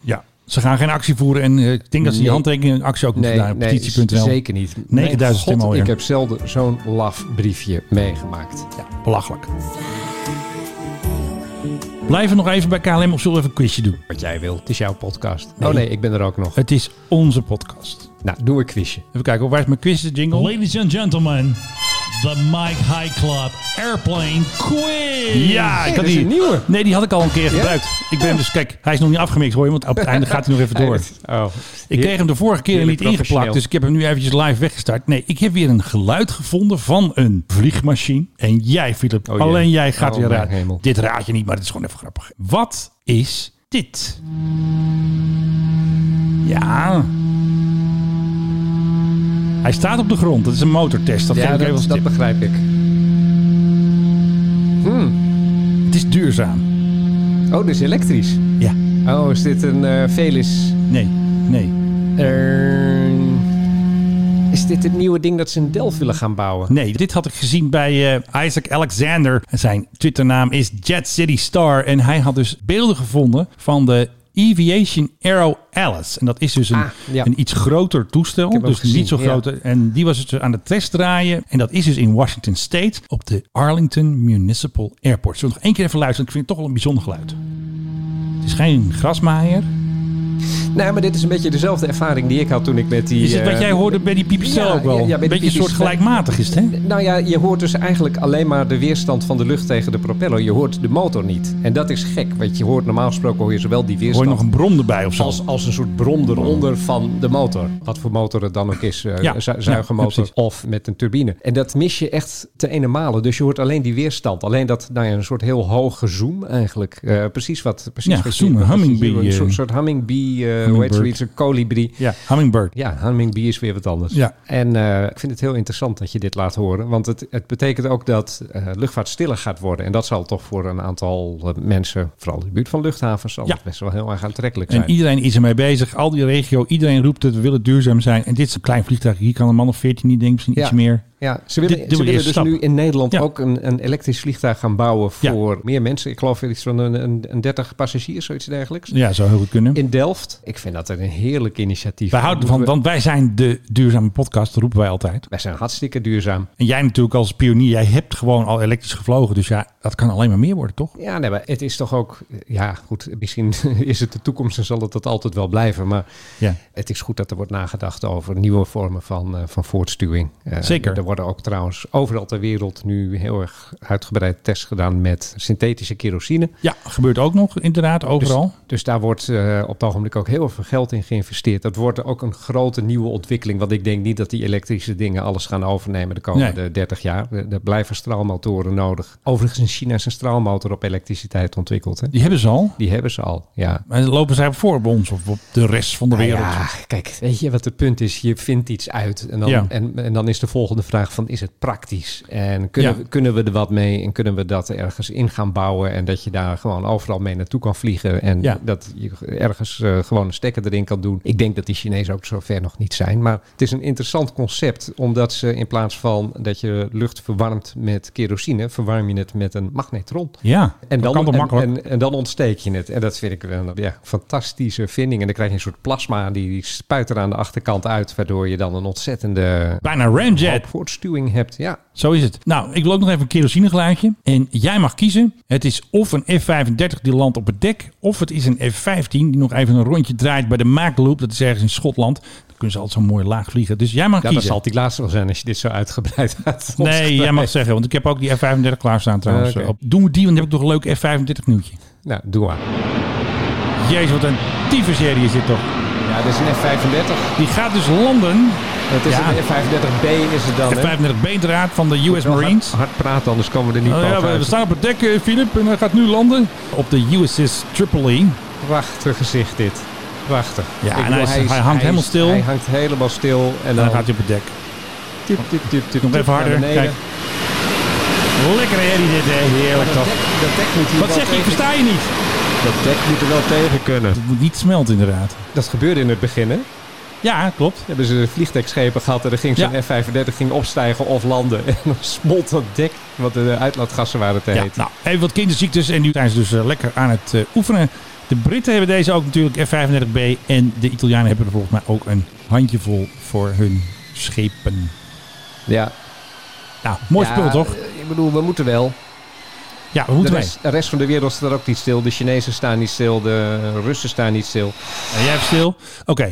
[SPEAKER 4] Ja. Ze gaan geen actie voeren en eh, ik denk dat ze die
[SPEAKER 5] Nee.
[SPEAKER 4] handtekening en actie ook moeten
[SPEAKER 5] nee,
[SPEAKER 4] gedaan hebben.
[SPEAKER 5] nee,
[SPEAKER 4] Petitie.nl.
[SPEAKER 5] zeker niet.
[SPEAKER 4] 9000
[SPEAKER 5] Mijn
[SPEAKER 4] stemmen
[SPEAKER 5] God,
[SPEAKER 4] alweer.
[SPEAKER 5] Ik heb zelden zo'n laf briefje meegemaakt.
[SPEAKER 4] Ja, belachelijk. Blijven we nog even bij KLM of zullen we even een quizje doen?
[SPEAKER 5] Wat jij wil, het is jouw podcast. Oh nee, ik ben er ook nog.
[SPEAKER 4] Het is onze podcast.
[SPEAKER 5] Nou, doe een quizje.
[SPEAKER 4] Even kijken, waar is mijn quiz de jingle?
[SPEAKER 8] Ladies and gentlemen, the Mike High Club Airplane Quiz.
[SPEAKER 4] Ja, ik
[SPEAKER 5] dat
[SPEAKER 4] had
[SPEAKER 5] is
[SPEAKER 4] die.
[SPEAKER 5] een nieuwe.
[SPEAKER 4] Nee, die had ik al een keer gebruikt. Ik ben hem dus, kijk, hij is nog niet afgemixt hoor, je, want op het einde gaat hij nog even door.
[SPEAKER 5] Oh.
[SPEAKER 4] Ik kreeg hem de vorige keer
[SPEAKER 5] Heerlijk
[SPEAKER 4] niet ingeplakt,
[SPEAKER 5] professioneel.
[SPEAKER 4] dus ik heb hem nu eventjes live weggestart. Nee, ik heb weer een geluid gevonden van een vliegmachine. En jij, Philip,
[SPEAKER 5] Oh jee.
[SPEAKER 4] alleen jij gaat
[SPEAKER 5] Oh,
[SPEAKER 4] weer
[SPEAKER 5] mijn
[SPEAKER 4] raden.
[SPEAKER 5] hemel.
[SPEAKER 4] Dit raad je niet, maar het is gewoon even grappig. Wat is dit? Ja. Hij staat op de grond. Dat is een motortest. Dat geef
[SPEAKER 5] Ja,
[SPEAKER 4] ik even als
[SPEAKER 5] dat, dat
[SPEAKER 4] tip.
[SPEAKER 5] begrijp ik.
[SPEAKER 4] Het is duurzaam.
[SPEAKER 5] Oh, dus elektrisch.
[SPEAKER 4] Ja.
[SPEAKER 5] Oh, is dit een eh Velis?
[SPEAKER 4] Nee. Nee.
[SPEAKER 5] Eh, is dit het nieuwe ding dat ze in Delft willen gaan bouwen?
[SPEAKER 4] Nee, dit had ik gezien bij eh, Isaac Alexander. Zijn Twitternaam is Jet City Star. En hij had dus beelden gevonden van de Aviation Aero Alice. En dat is dus een,
[SPEAKER 5] Ah, ja.
[SPEAKER 4] een iets groter toestel.
[SPEAKER 5] hem ook
[SPEAKER 4] Dus
[SPEAKER 5] gezien,
[SPEAKER 4] niet zo
[SPEAKER 5] ja.
[SPEAKER 4] groot. En die was dus aan de test draaien. En dat is dus in Washington State op de Arlington Municipal Airport. Zullen we nog één keer even luisteren? Ik vind het toch wel een bijzonder geluid. Het is geen grasmaaier.
[SPEAKER 5] Nee, maar dit is een beetje dezelfde ervaring die ik had toen ik met die...
[SPEAKER 4] Is het wat
[SPEAKER 5] eh,
[SPEAKER 4] jij hoorde bij die pipistrel
[SPEAKER 5] ja,
[SPEAKER 4] ook wel?
[SPEAKER 5] ja, ja, bij
[SPEAKER 4] een
[SPEAKER 5] die
[SPEAKER 4] beetje een soort
[SPEAKER 5] pipistrel.
[SPEAKER 4] gelijkmatig is het, hè?
[SPEAKER 5] Nou ja, je hoort dus eigenlijk alleen maar de weerstand van de lucht tegen de propeller. Je hoort de motor niet. En dat is gek, want je hoort normaal gesproken hoor je zowel die
[SPEAKER 4] Hoor
[SPEAKER 5] weerstand...
[SPEAKER 4] je nog een bron erbij of zo?
[SPEAKER 5] als, als een soort bron eronder van de motor. Wat voor motor het dan ook is. eh,
[SPEAKER 4] Ja,
[SPEAKER 5] zu-
[SPEAKER 4] ja,
[SPEAKER 5] zuigermotor
[SPEAKER 4] precies.
[SPEAKER 5] of met een turbine. En dat mis je echt te ene malen. Dus je hoort alleen die weerstand. Alleen dat, nou ja, een soort heel hoog gezoem eigenlijk. Eh, precies wat. Precies
[SPEAKER 4] Ja,
[SPEAKER 5] wat je-
[SPEAKER 4] gezoem, een
[SPEAKER 5] wat je-
[SPEAKER 4] hummingbee,
[SPEAKER 5] Een
[SPEAKER 4] eh,
[SPEAKER 5] soort, soort hummingbee, eh, hoe heet
[SPEAKER 4] hummingbird.
[SPEAKER 5] zoiets? Een kolibrie.
[SPEAKER 4] Ja, hummingbird.
[SPEAKER 5] Ja, hummingbee is weer wat anders.
[SPEAKER 4] Ja.
[SPEAKER 5] En eh, ik vind het heel interessant dat je dit laat horen. Want het, het betekent ook dat eh, luchtvaart stiller gaat worden. En dat zal toch voor een aantal eh, mensen, vooral in de buurt van luchthavens, zal
[SPEAKER 4] Ja.
[SPEAKER 5] het best wel heel erg aantrekkelijk zijn.
[SPEAKER 4] En iedereen is ermee bezig. Al die regio, iedereen roept het, we willen duurzaam zijn. En dit is een klein vliegtuig. Hier kan een man of 14 niet denken, misschien
[SPEAKER 5] Ja.
[SPEAKER 4] iets meer.
[SPEAKER 5] Ja, ze
[SPEAKER 4] Dit
[SPEAKER 5] willen,
[SPEAKER 4] doen we de
[SPEAKER 5] ze willen
[SPEAKER 4] eerste
[SPEAKER 5] dus
[SPEAKER 4] stap.
[SPEAKER 5] nu in Nederland
[SPEAKER 4] Ja.
[SPEAKER 5] ook een, een elektrisch vliegtuig gaan bouwen
[SPEAKER 4] Ja.
[SPEAKER 5] voor meer mensen. Ik geloof iets van een, een, een 30 passagiers, zoiets dergelijks.
[SPEAKER 4] Ja, zou heel goed kunnen.
[SPEAKER 5] In Delft. Ik vind dat een heerlijk initiatief.
[SPEAKER 4] Wij houden van, want wij zijn de duurzame podcast, dat roepen wij altijd.
[SPEAKER 5] Wij zijn hartstikke duurzaam.
[SPEAKER 4] En jij natuurlijk als pionier, jij hebt gewoon al elektrisch gevlogen. Dus ja, dat kan alleen maar meer worden, toch?
[SPEAKER 5] Ja, nee, maar het is toch ook... Ja, goed, misschien is het de toekomst en zal het dat altijd wel blijven. Maar
[SPEAKER 4] Ja.
[SPEAKER 5] het is goed dat er wordt nagedacht over nieuwe vormen van, eh, van voortstuwing. Eh,
[SPEAKER 4] Zeker.
[SPEAKER 5] Er worden ook trouwens overal ter wereld nu heel erg uitgebreid tests gedaan met synthetische kerosine.
[SPEAKER 4] Ja, gebeurt ook nog, inderdaad, overal.
[SPEAKER 5] Dus, dus daar wordt eh, op het ogenblik ook heel veel geld in geïnvesteerd. Dat wordt ook een grote nieuwe ontwikkeling. Want ik denk niet dat die elektrische dingen alles gaan overnemen de komende 30 jaar. Er er blijven straalmotoren nodig. Overigens in China is een straalmotor op elektriciteit ontwikkeld. Hè?
[SPEAKER 4] Die hebben ze al.
[SPEAKER 5] Die hebben ze al, ja.
[SPEAKER 4] Maar lopen zij voor bij ons of op de rest van de
[SPEAKER 5] Nou
[SPEAKER 4] wereld?
[SPEAKER 5] Ja, kijk, weet je wat het punt is? Je vindt iets uit en dan,
[SPEAKER 4] Ja.
[SPEAKER 5] en, en dan is de volgende afvragen van is het praktisch? En kunnen,
[SPEAKER 4] Ja.
[SPEAKER 5] we, kunnen we er wat mee? En kunnen we dat ergens in gaan bouwen? En dat je daar gewoon overal mee naartoe kan vliegen. En
[SPEAKER 4] Ja.
[SPEAKER 5] dat je ergens eh, gewoon een stekker erin kan doen. Ik denk dat die Chinezen ook zo ver nog niet zijn. Maar het is een interessant concept. Omdat ze in plaats van dat je lucht verwarmt met kerosine, verwarm je het met een magnetron.
[SPEAKER 4] Ja, dat
[SPEAKER 5] En dan,
[SPEAKER 4] kan toch
[SPEAKER 5] en-
[SPEAKER 4] makkelijk.
[SPEAKER 5] En, en dan ontsteek je het. En dat vind ik een ja, fantastische vinding. En dan krijg je een soort plasma, die, die spuit er aan de achterkant uit, waardoor je dan een ontzettende
[SPEAKER 4] Bijna ramjet.
[SPEAKER 5] hoop voortstuwing hebt. Ja,
[SPEAKER 4] Zo is het. Nou, ik loop nog even een kerosinegeluidje. En jij mag kiezen. Het is of een F-35 die landt op het dek. Of het is een F-15 die nog even een rondje draait bij de Maakloop. Dat is ergens in Schotland. Dan kunnen ze altijd zo mooi laag vliegen. Dus jij mag
[SPEAKER 5] ja dat
[SPEAKER 4] kiezen.
[SPEAKER 5] zal die laatste wel zijn als je dit zo uitgebreid had.
[SPEAKER 4] Nee, jij mag zeggen. Want ik heb ook die F-35 klaarstaan trouwens.
[SPEAKER 5] Eh, oké.
[SPEAKER 4] Op- Doen we die, want dan heb ik nog een leuk F-35 nieuwtje.
[SPEAKER 5] Nou, doe maar.
[SPEAKER 4] Jezus, wat een tiefe serie is dit toch.
[SPEAKER 5] Ja, dit is een F-35.
[SPEAKER 4] Die gaat dus landen.
[SPEAKER 5] Het is
[SPEAKER 4] Ja.
[SPEAKER 5] een F-35B is het dan, hè?
[SPEAKER 4] F-35B inderdaad van de US
[SPEAKER 5] Wel
[SPEAKER 4] Marines.
[SPEAKER 5] Hard, hard praten, anders komen we er niet
[SPEAKER 4] Oh ja,
[SPEAKER 5] boven
[SPEAKER 4] we, we
[SPEAKER 5] uit.
[SPEAKER 4] staan op het dek, eh, Philip. En hij gaat nu landen op de USS Tripoli.
[SPEAKER 5] Prachtig gezicht dit. Prachtig.
[SPEAKER 4] Ja, en
[SPEAKER 5] bedoel,
[SPEAKER 4] hij is-
[SPEAKER 5] is-
[SPEAKER 4] hij hangt
[SPEAKER 5] is-
[SPEAKER 4] helemaal stil.
[SPEAKER 5] Hij hangt helemaal stil. En
[SPEAKER 4] En
[SPEAKER 5] dan,
[SPEAKER 4] dan gaat hij op het dek.
[SPEAKER 5] tip, tip, tip, tip,
[SPEAKER 4] Nog
[SPEAKER 5] tip
[SPEAKER 4] even
[SPEAKER 5] naar
[SPEAKER 4] harder.
[SPEAKER 5] beneden.
[SPEAKER 4] Kijk. Lekker herrie dit, hè. Heerlijk
[SPEAKER 5] Dat
[SPEAKER 4] toch.
[SPEAKER 5] dek, dat dek moet hier
[SPEAKER 4] Wat
[SPEAKER 5] wel
[SPEAKER 4] zeg je? Ik
[SPEAKER 5] tegen-
[SPEAKER 4] versta je niet.
[SPEAKER 5] Dat dek moet er wel tegen kunnen.
[SPEAKER 4] Het moet niet smelten, inderdaad.
[SPEAKER 5] Dat gebeurde in het begin, hè?
[SPEAKER 4] Ja, klopt.
[SPEAKER 5] Hebben ze vliegtuigschepen gehad en er ging zo'n
[SPEAKER 4] Ja.
[SPEAKER 5] F-35 ging opstijgen of landen. En dan smolt dat dek, want de uitlaatgassen waren te
[SPEAKER 4] Ja,
[SPEAKER 5] heet.
[SPEAKER 4] nou, even wat kinderziektes. En nu zijn ze dus eh, lekker aan het eh, oefenen. De Britten hebben deze ook natuurlijk, F-35B. En de Italianen hebben er volgens mij ook een handjevol voor hun schepen.
[SPEAKER 5] Ja.
[SPEAKER 4] Nou, mooi spul
[SPEAKER 5] Ja,
[SPEAKER 4] toch?
[SPEAKER 5] eh, Ik bedoel, we moeten wel.
[SPEAKER 4] Ja, we
[SPEAKER 5] De
[SPEAKER 4] moeten mee.
[SPEAKER 5] rest, de rest van de wereld staat ook niet stil. De Chinezen staan niet stil. De Russen staan niet stil.
[SPEAKER 4] En jij even stil. Oké.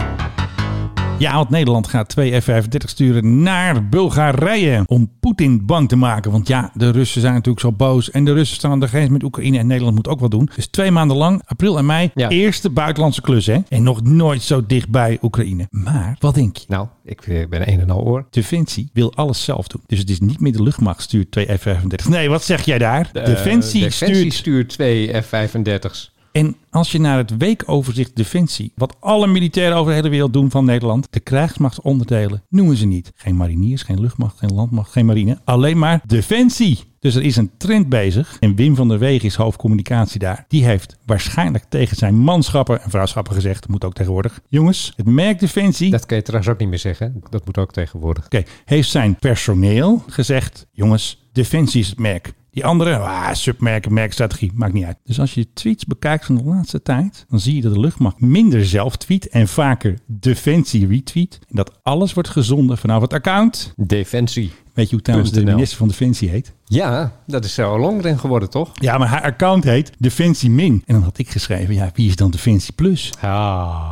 [SPEAKER 4] Ja, want Nederland gaat twee F-35 sturen naar Bulgarije om Poetin bang te maken. Want ja, de Russen zijn natuurlijk zo boos en de Russen staan aan de grens met Oekraïne en Nederland moet ook wat doen. Dus twee maanden lang, april en mei,
[SPEAKER 5] Ja.
[SPEAKER 4] eerste buitenlandse klus hè. En nog nooit zo dichtbij Oekraïne. Maar, wat denk je?
[SPEAKER 5] Nou, ik eh, ben een en al oor.
[SPEAKER 4] Defensie wil alles zelf doen. Dus het is niet meer de luchtmacht stuurt twee F-35. Nee, wat zeg jij daar? Defensie,
[SPEAKER 5] Eh, Defensie
[SPEAKER 4] stuurt
[SPEAKER 5] stuurt twee F-35's.
[SPEAKER 4] en als je naar het weekoverzicht Defensie, wat alle militairen over de hele wereld doen van Nederland, de krijgsmachtsonderdelen noemen ze niet. Geen mariniers, geen luchtmacht, geen landmacht, geen marine. Alleen maar Defensie. Dus er is een trend bezig. En Wim van der Weeg is hoofdcommunicatie daar. Die heeft waarschijnlijk tegen zijn manschappen en vrouwschappen gezegd, moet ook tegenwoordig. Jongens, het merk Defensie
[SPEAKER 5] Dat kun je trouwens ook niet meer zeggen. Dat moet ook tegenwoordig.
[SPEAKER 4] Oké, heeft zijn personeel gezegd: jongens, Defensie is het merk. Die andere, ah, submerken, merkstrategie, maakt niet uit. Dus als je de tweets bekijkt van de laatste tijd, dan zie je dat de luchtmacht minder zelf tweet en vaker Defensie retweet. En dat alles wordt gezonden vanaf het account.
[SPEAKER 5] Defensie.
[SPEAKER 4] Weet je hoe trouwens de
[SPEAKER 5] .nl.
[SPEAKER 4] minister van Defensie heet?
[SPEAKER 5] Ja, dat is zo Longren geworden, toch?
[SPEAKER 4] Ja, maar haar account heet Defensie Min. En dan had ik geschreven, ja, wie is dan Defensie Plus?
[SPEAKER 5] Ah.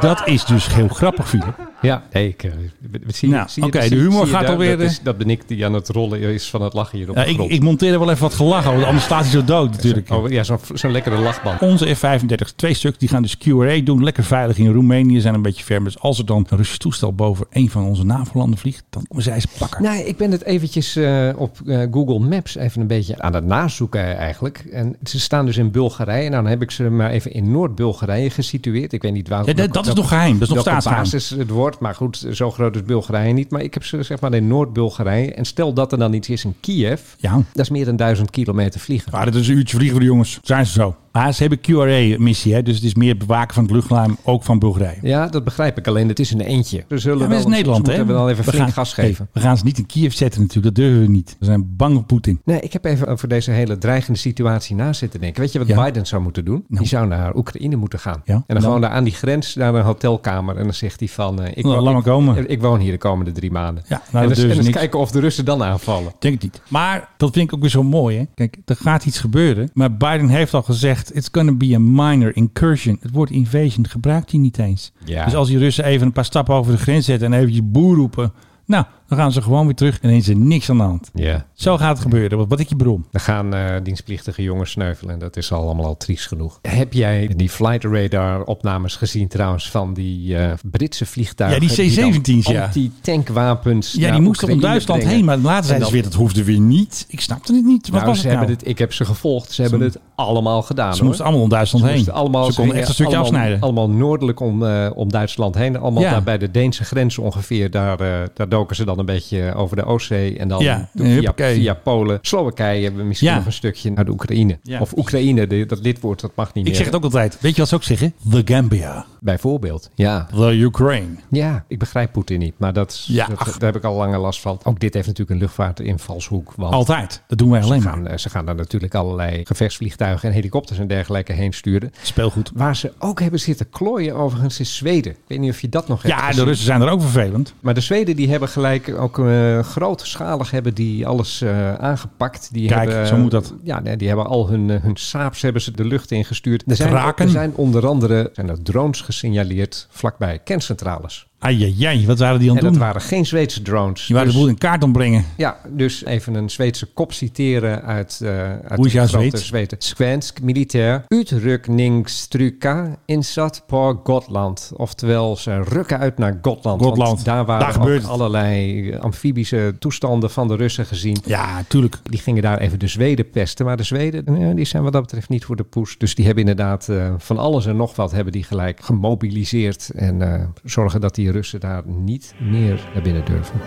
[SPEAKER 4] Dat is dus heel grappig, Philip.
[SPEAKER 5] Ja, nee, ik, eh, we- we zien-
[SPEAKER 4] Nou,
[SPEAKER 5] zie je-
[SPEAKER 4] oké,
[SPEAKER 5] zie-
[SPEAKER 4] de humor
[SPEAKER 5] zie je
[SPEAKER 4] gaat
[SPEAKER 5] daar-
[SPEAKER 4] alweer,
[SPEAKER 5] Dat,
[SPEAKER 4] eh.
[SPEAKER 5] is, dat ben ik die aan het rollen is van het lachen hier op
[SPEAKER 4] Ja,
[SPEAKER 5] de
[SPEAKER 4] ik,
[SPEAKER 5] grond.
[SPEAKER 4] ik monteer er wel even wat gelachen, want anders staat hij zo dood natuurlijk.
[SPEAKER 5] Oh, ja, zo'n zo'n lekkere lachband.
[SPEAKER 4] Onze F-35, twee stuk, die gaan dus QRA doen. Lekker veilig in Roemenië, zijn een beetje ver. Dus als er dan een Russisch toestel boven een van onze NAVO-landen vliegt, dan komen zij eens pakken.
[SPEAKER 5] Nee, Nou, ik ben het eventjes eh, op eh, Google Maps even een beetje aan het nazoeken eh, eigenlijk. En ze staan dus in Bulgarije. Nou, dan heb ik ze maar even in Noord-Bulgarije gesitueerd. Ik weet niet waar.
[SPEAKER 4] Ja, dat, dat is nog geheim, dat is nog
[SPEAKER 5] welke
[SPEAKER 4] staatsgeheim.
[SPEAKER 5] basis het wordt. Maar goed, zo groot is Bulgarije niet. Maar ik heb ze zeg maar in Noord-Bulgarije. En stel dat er dan iets is in Kiev.
[SPEAKER 4] Ja.
[SPEAKER 5] Dat is meer dan duizend kilometer vliegen.
[SPEAKER 4] Maar dat is een uurtje vliegen voor de jongens. Zijn ze zo. Maar ze hebben QRA-missie, hè? dus het is meer het bewaken van het luchtruim, ook van Bulgarije.
[SPEAKER 5] Ja, dat begrijp ik. Alleen het is een eentje. We zullen
[SPEAKER 4] Ja, maar
[SPEAKER 5] wel,
[SPEAKER 4] dat is Nederland,
[SPEAKER 5] soms
[SPEAKER 4] hè?
[SPEAKER 5] moeten we dan even flink
[SPEAKER 4] gaan,
[SPEAKER 5] gas geven.
[SPEAKER 4] Hey, we gaan ze niet in Kiev zetten natuurlijk, dat durven we niet. We zijn bang voor Poetin.
[SPEAKER 5] Nee, ik heb even over deze hele dreigende situatie na zitten denken. Weet je wat
[SPEAKER 4] Ja. Nou.
[SPEAKER 5] Biden zou moeten doen? Die zou naar Oekraïne moeten gaan.
[SPEAKER 4] Ja, Nou.
[SPEAKER 5] en
[SPEAKER 4] en
[SPEAKER 5] dan,
[SPEAKER 4] dan?
[SPEAKER 5] gewoon daar aan die grens naar een hotelkamer. En dan zegt hij van... eh, ik,
[SPEAKER 4] Nou, laat
[SPEAKER 5] ik,
[SPEAKER 4] maar komen.
[SPEAKER 5] Ik, ik woon hier de komende drie maanden.
[SPEAKER 4] Ja, nou, dat
[SPEAKER 5] en
[SPEAKER 4] durven ze
[SPEAKER 5] dan, en dan
[SPEAKER 4] niks.
[SPEAKER 5] kijken of de Russen dan aanvallen.
[SPEAKER 4] Ik denk het niet. Maar dat vind ik ook weer zo mooi. Hè? Kijk, er gaat iets gebeuren. Maar Biden heeft al gezegd: it's gonna be a minor incursion. Het woord invasion gebruikt hij niet eens.
[SPEAKER 5] Ja.
[SPEAKER 4] Dus als die Russen even een paar stappen over de grens zetten en eventjes boer roepen. Nou, dan gaan ze gewoon weer terug en dan is er niks aan de hand.
[SPEAKER 5] Ja.
[SPEAKER 4] Zo gaat het gebeuren. Wat, wat ik je brom.
[SPEAKER 5] Dan gaan eh, dienstplichtige jongens sneuvelen. Dat is al allemaal al triest genoeg. Heb jij die flight radar opnames gezien trouwens van die eh, Britse vliegtuigen?
[SPEAKER 4] Ja, die C-17's, ja.
[SPEAKER 5] Anti-tankwapens
[SPEAKER 4] Ja,
[SPEAKER 5] naar
[SPEAKER 4] die moesten om
[SPEAKER 5] Oekraïne
[SPEAKER 4] Duitsland
[SPEAKER 5] brengen.
[SPEAKER 4] heen. Maar later
[SPEAKER 5] En
[SPEAKER 4] zeiden ze
[SPEAKER 5] dat-
[SPEAKER 4] weer: dat hoefde weer niet. Ik snapte het niet. Wat
[SPEAKER 5] Nou,
[SPEAKER 4] was
[SPEAKER 5] ze
[SPEAKER 4] het nou?
[SPEAKER 5] hebben het, ik heb ze gevolgd. Ze hebben het allemaal gedaan.
[SPEAKER 4] ze moesten
[SPEAKER 5] hoor.
[SPEAKER 4] allemaal om Duitsland
[SPEAKER 5] Ze
[SPEAKER 4] heen.
[SPEAKER 5] moesten allemaal,
[SPEAKER 4] ze konden
[SPEAKER 5] gingen
[SPEAKER 4] echt een stukje
[SPEAKER 5] allemaal,
[SPEAKER 4] afsnijden.
[SPEAKER 5] Allemaal noordelijk om, eh, om Duitsland heen. Allemaal
[SPEAKER 4] Ja.
[SPEAKER 5] daar bij de Deense grens ongeveer. Daar, eh, daar doken ze dan een een beetje over de Oostzee en dan
[SPEAKER 4] Ja,
[SPEAKER 5] via,
[SPEAKER 4] huppakee.
[SPEAKER 5] via Polen, Slowakije, misschien
[SPEAKER 4] Ja.
[SPEAKER 5] nog een stukje naar de Oekraïne.
[SPEAKER 4] Ja,
[SPEAKER 5] of
[SPEAKER 4] precies.
[SPEAKER 5] Oekraïne, de- dat lidwoord, dat mag niet
[SPEAKER 4] Ik
[SPEAKER 5] meer.
[SPEAKER 4] zeg het ook altijd. Weet je wat ze ook zeggen? The Gambia.
[SPEAKER 5] Bijvoorbeeld, ja.
[SPEAKER 4] The Ukraine.
[SPEAKER 5] Ja, ik begrijp Poetin niet, maar dat, is-
[SPEAKER 4] Ja,
[SPEAKER 5] dat,
[SPEAKER 4] ach.
[SPEAKER 5] daar heb ik al lange last van. Ook dit heeft natuurlijk een luchtvaartinvalshoek, want
[SPEAKER 4] Altijd. Dat doen wij alleen
[SPEAKER 5] ze,
[SPEAKER 4] maar.
[SPEAKER 5] gaan, eh, ze gaan daar natuurlijk allerlei gevechtsvliegtuigen en helikopters en dergelijke heen sturen.
[SPEAKER 4] Speelgoed.
[SPEAKER 5] Waar ze ook hebben zitten klooien overigens is Zweden. Ik weet niet of je dat nog hebt
[SPEAKER 4] Ja, de
[SPEAKER 5] gezien.
[SPEAKER 4] Russen zijn er ook vervelend.
[SPEAKER 5] Maar de Zweden die hebben gelijk ook eh, grootschalig hebben die alles eh, aangepakt. Die
[SPEAKER 4] Kijk,
[SPEAKER 5] hebben,
[SPEAKER 4] zo moet dat.
[SPEAKER 5] Ja, nee, die hebben al hun, eh, hun saaps hebben ze de lucht ingestuurd. Er zijn,
[SPEAKER 4] Draken.
[SPEAKER 5] er zijn onder andere zijn er drones gesignaleerd vlakbij kerncentrales.
[SPEAKER 4] Ajajaj, wat waren die aan
[SPEAKER 5] En
[SPEAKER 4] het
[SPEAKER 5] dat
[SPEAKER 4] doen?
[SPEAKER 5] waren geen Zweedse drones.
[SPEAKER 4] Die waren de
[SPEAKER 5] Dus-
[SPEAKER 4] boel in kaart ombrengen.
[SPEAKER 5] ja, dus even een Zweedse kop citeren uit, eh uit
[SPEAKER 4] Hoe is jouw
[SPEAKER 5] de grote
[SPEAKER 4] Zweeds?
[SPEAKER 5] Zweden. Svensk militair uitrukningstruka inzat voor Gotland. Oftewel, ze rukken uit naar Gotland.
[SPEAKER 4] Gotland.
[SPEAKER 5] Want daar
[SPEAKER 4] Daar
[SPEAKER 5] waren
[SPEAKER 4] gebeurt
[SPEAKER 5] ook
[SPEAKER 4] het.
[SPEAKER 5] allerlei eh, amfibische toestanden van de Russen gezien.
[SPEAKER 4] Ja, tuurlijk.
[SPEAKER 5] Die gingen daar even de Zweden pesten. Maar de Zweden eh, die zijn wat dat betreft niet voor de poes. Dus die hebben inderdaad eh, van alles en nog wat hebben die gelijk gemobiliseerd. En eh, zorgen dat die Russen daar niet meer naar binnen durven.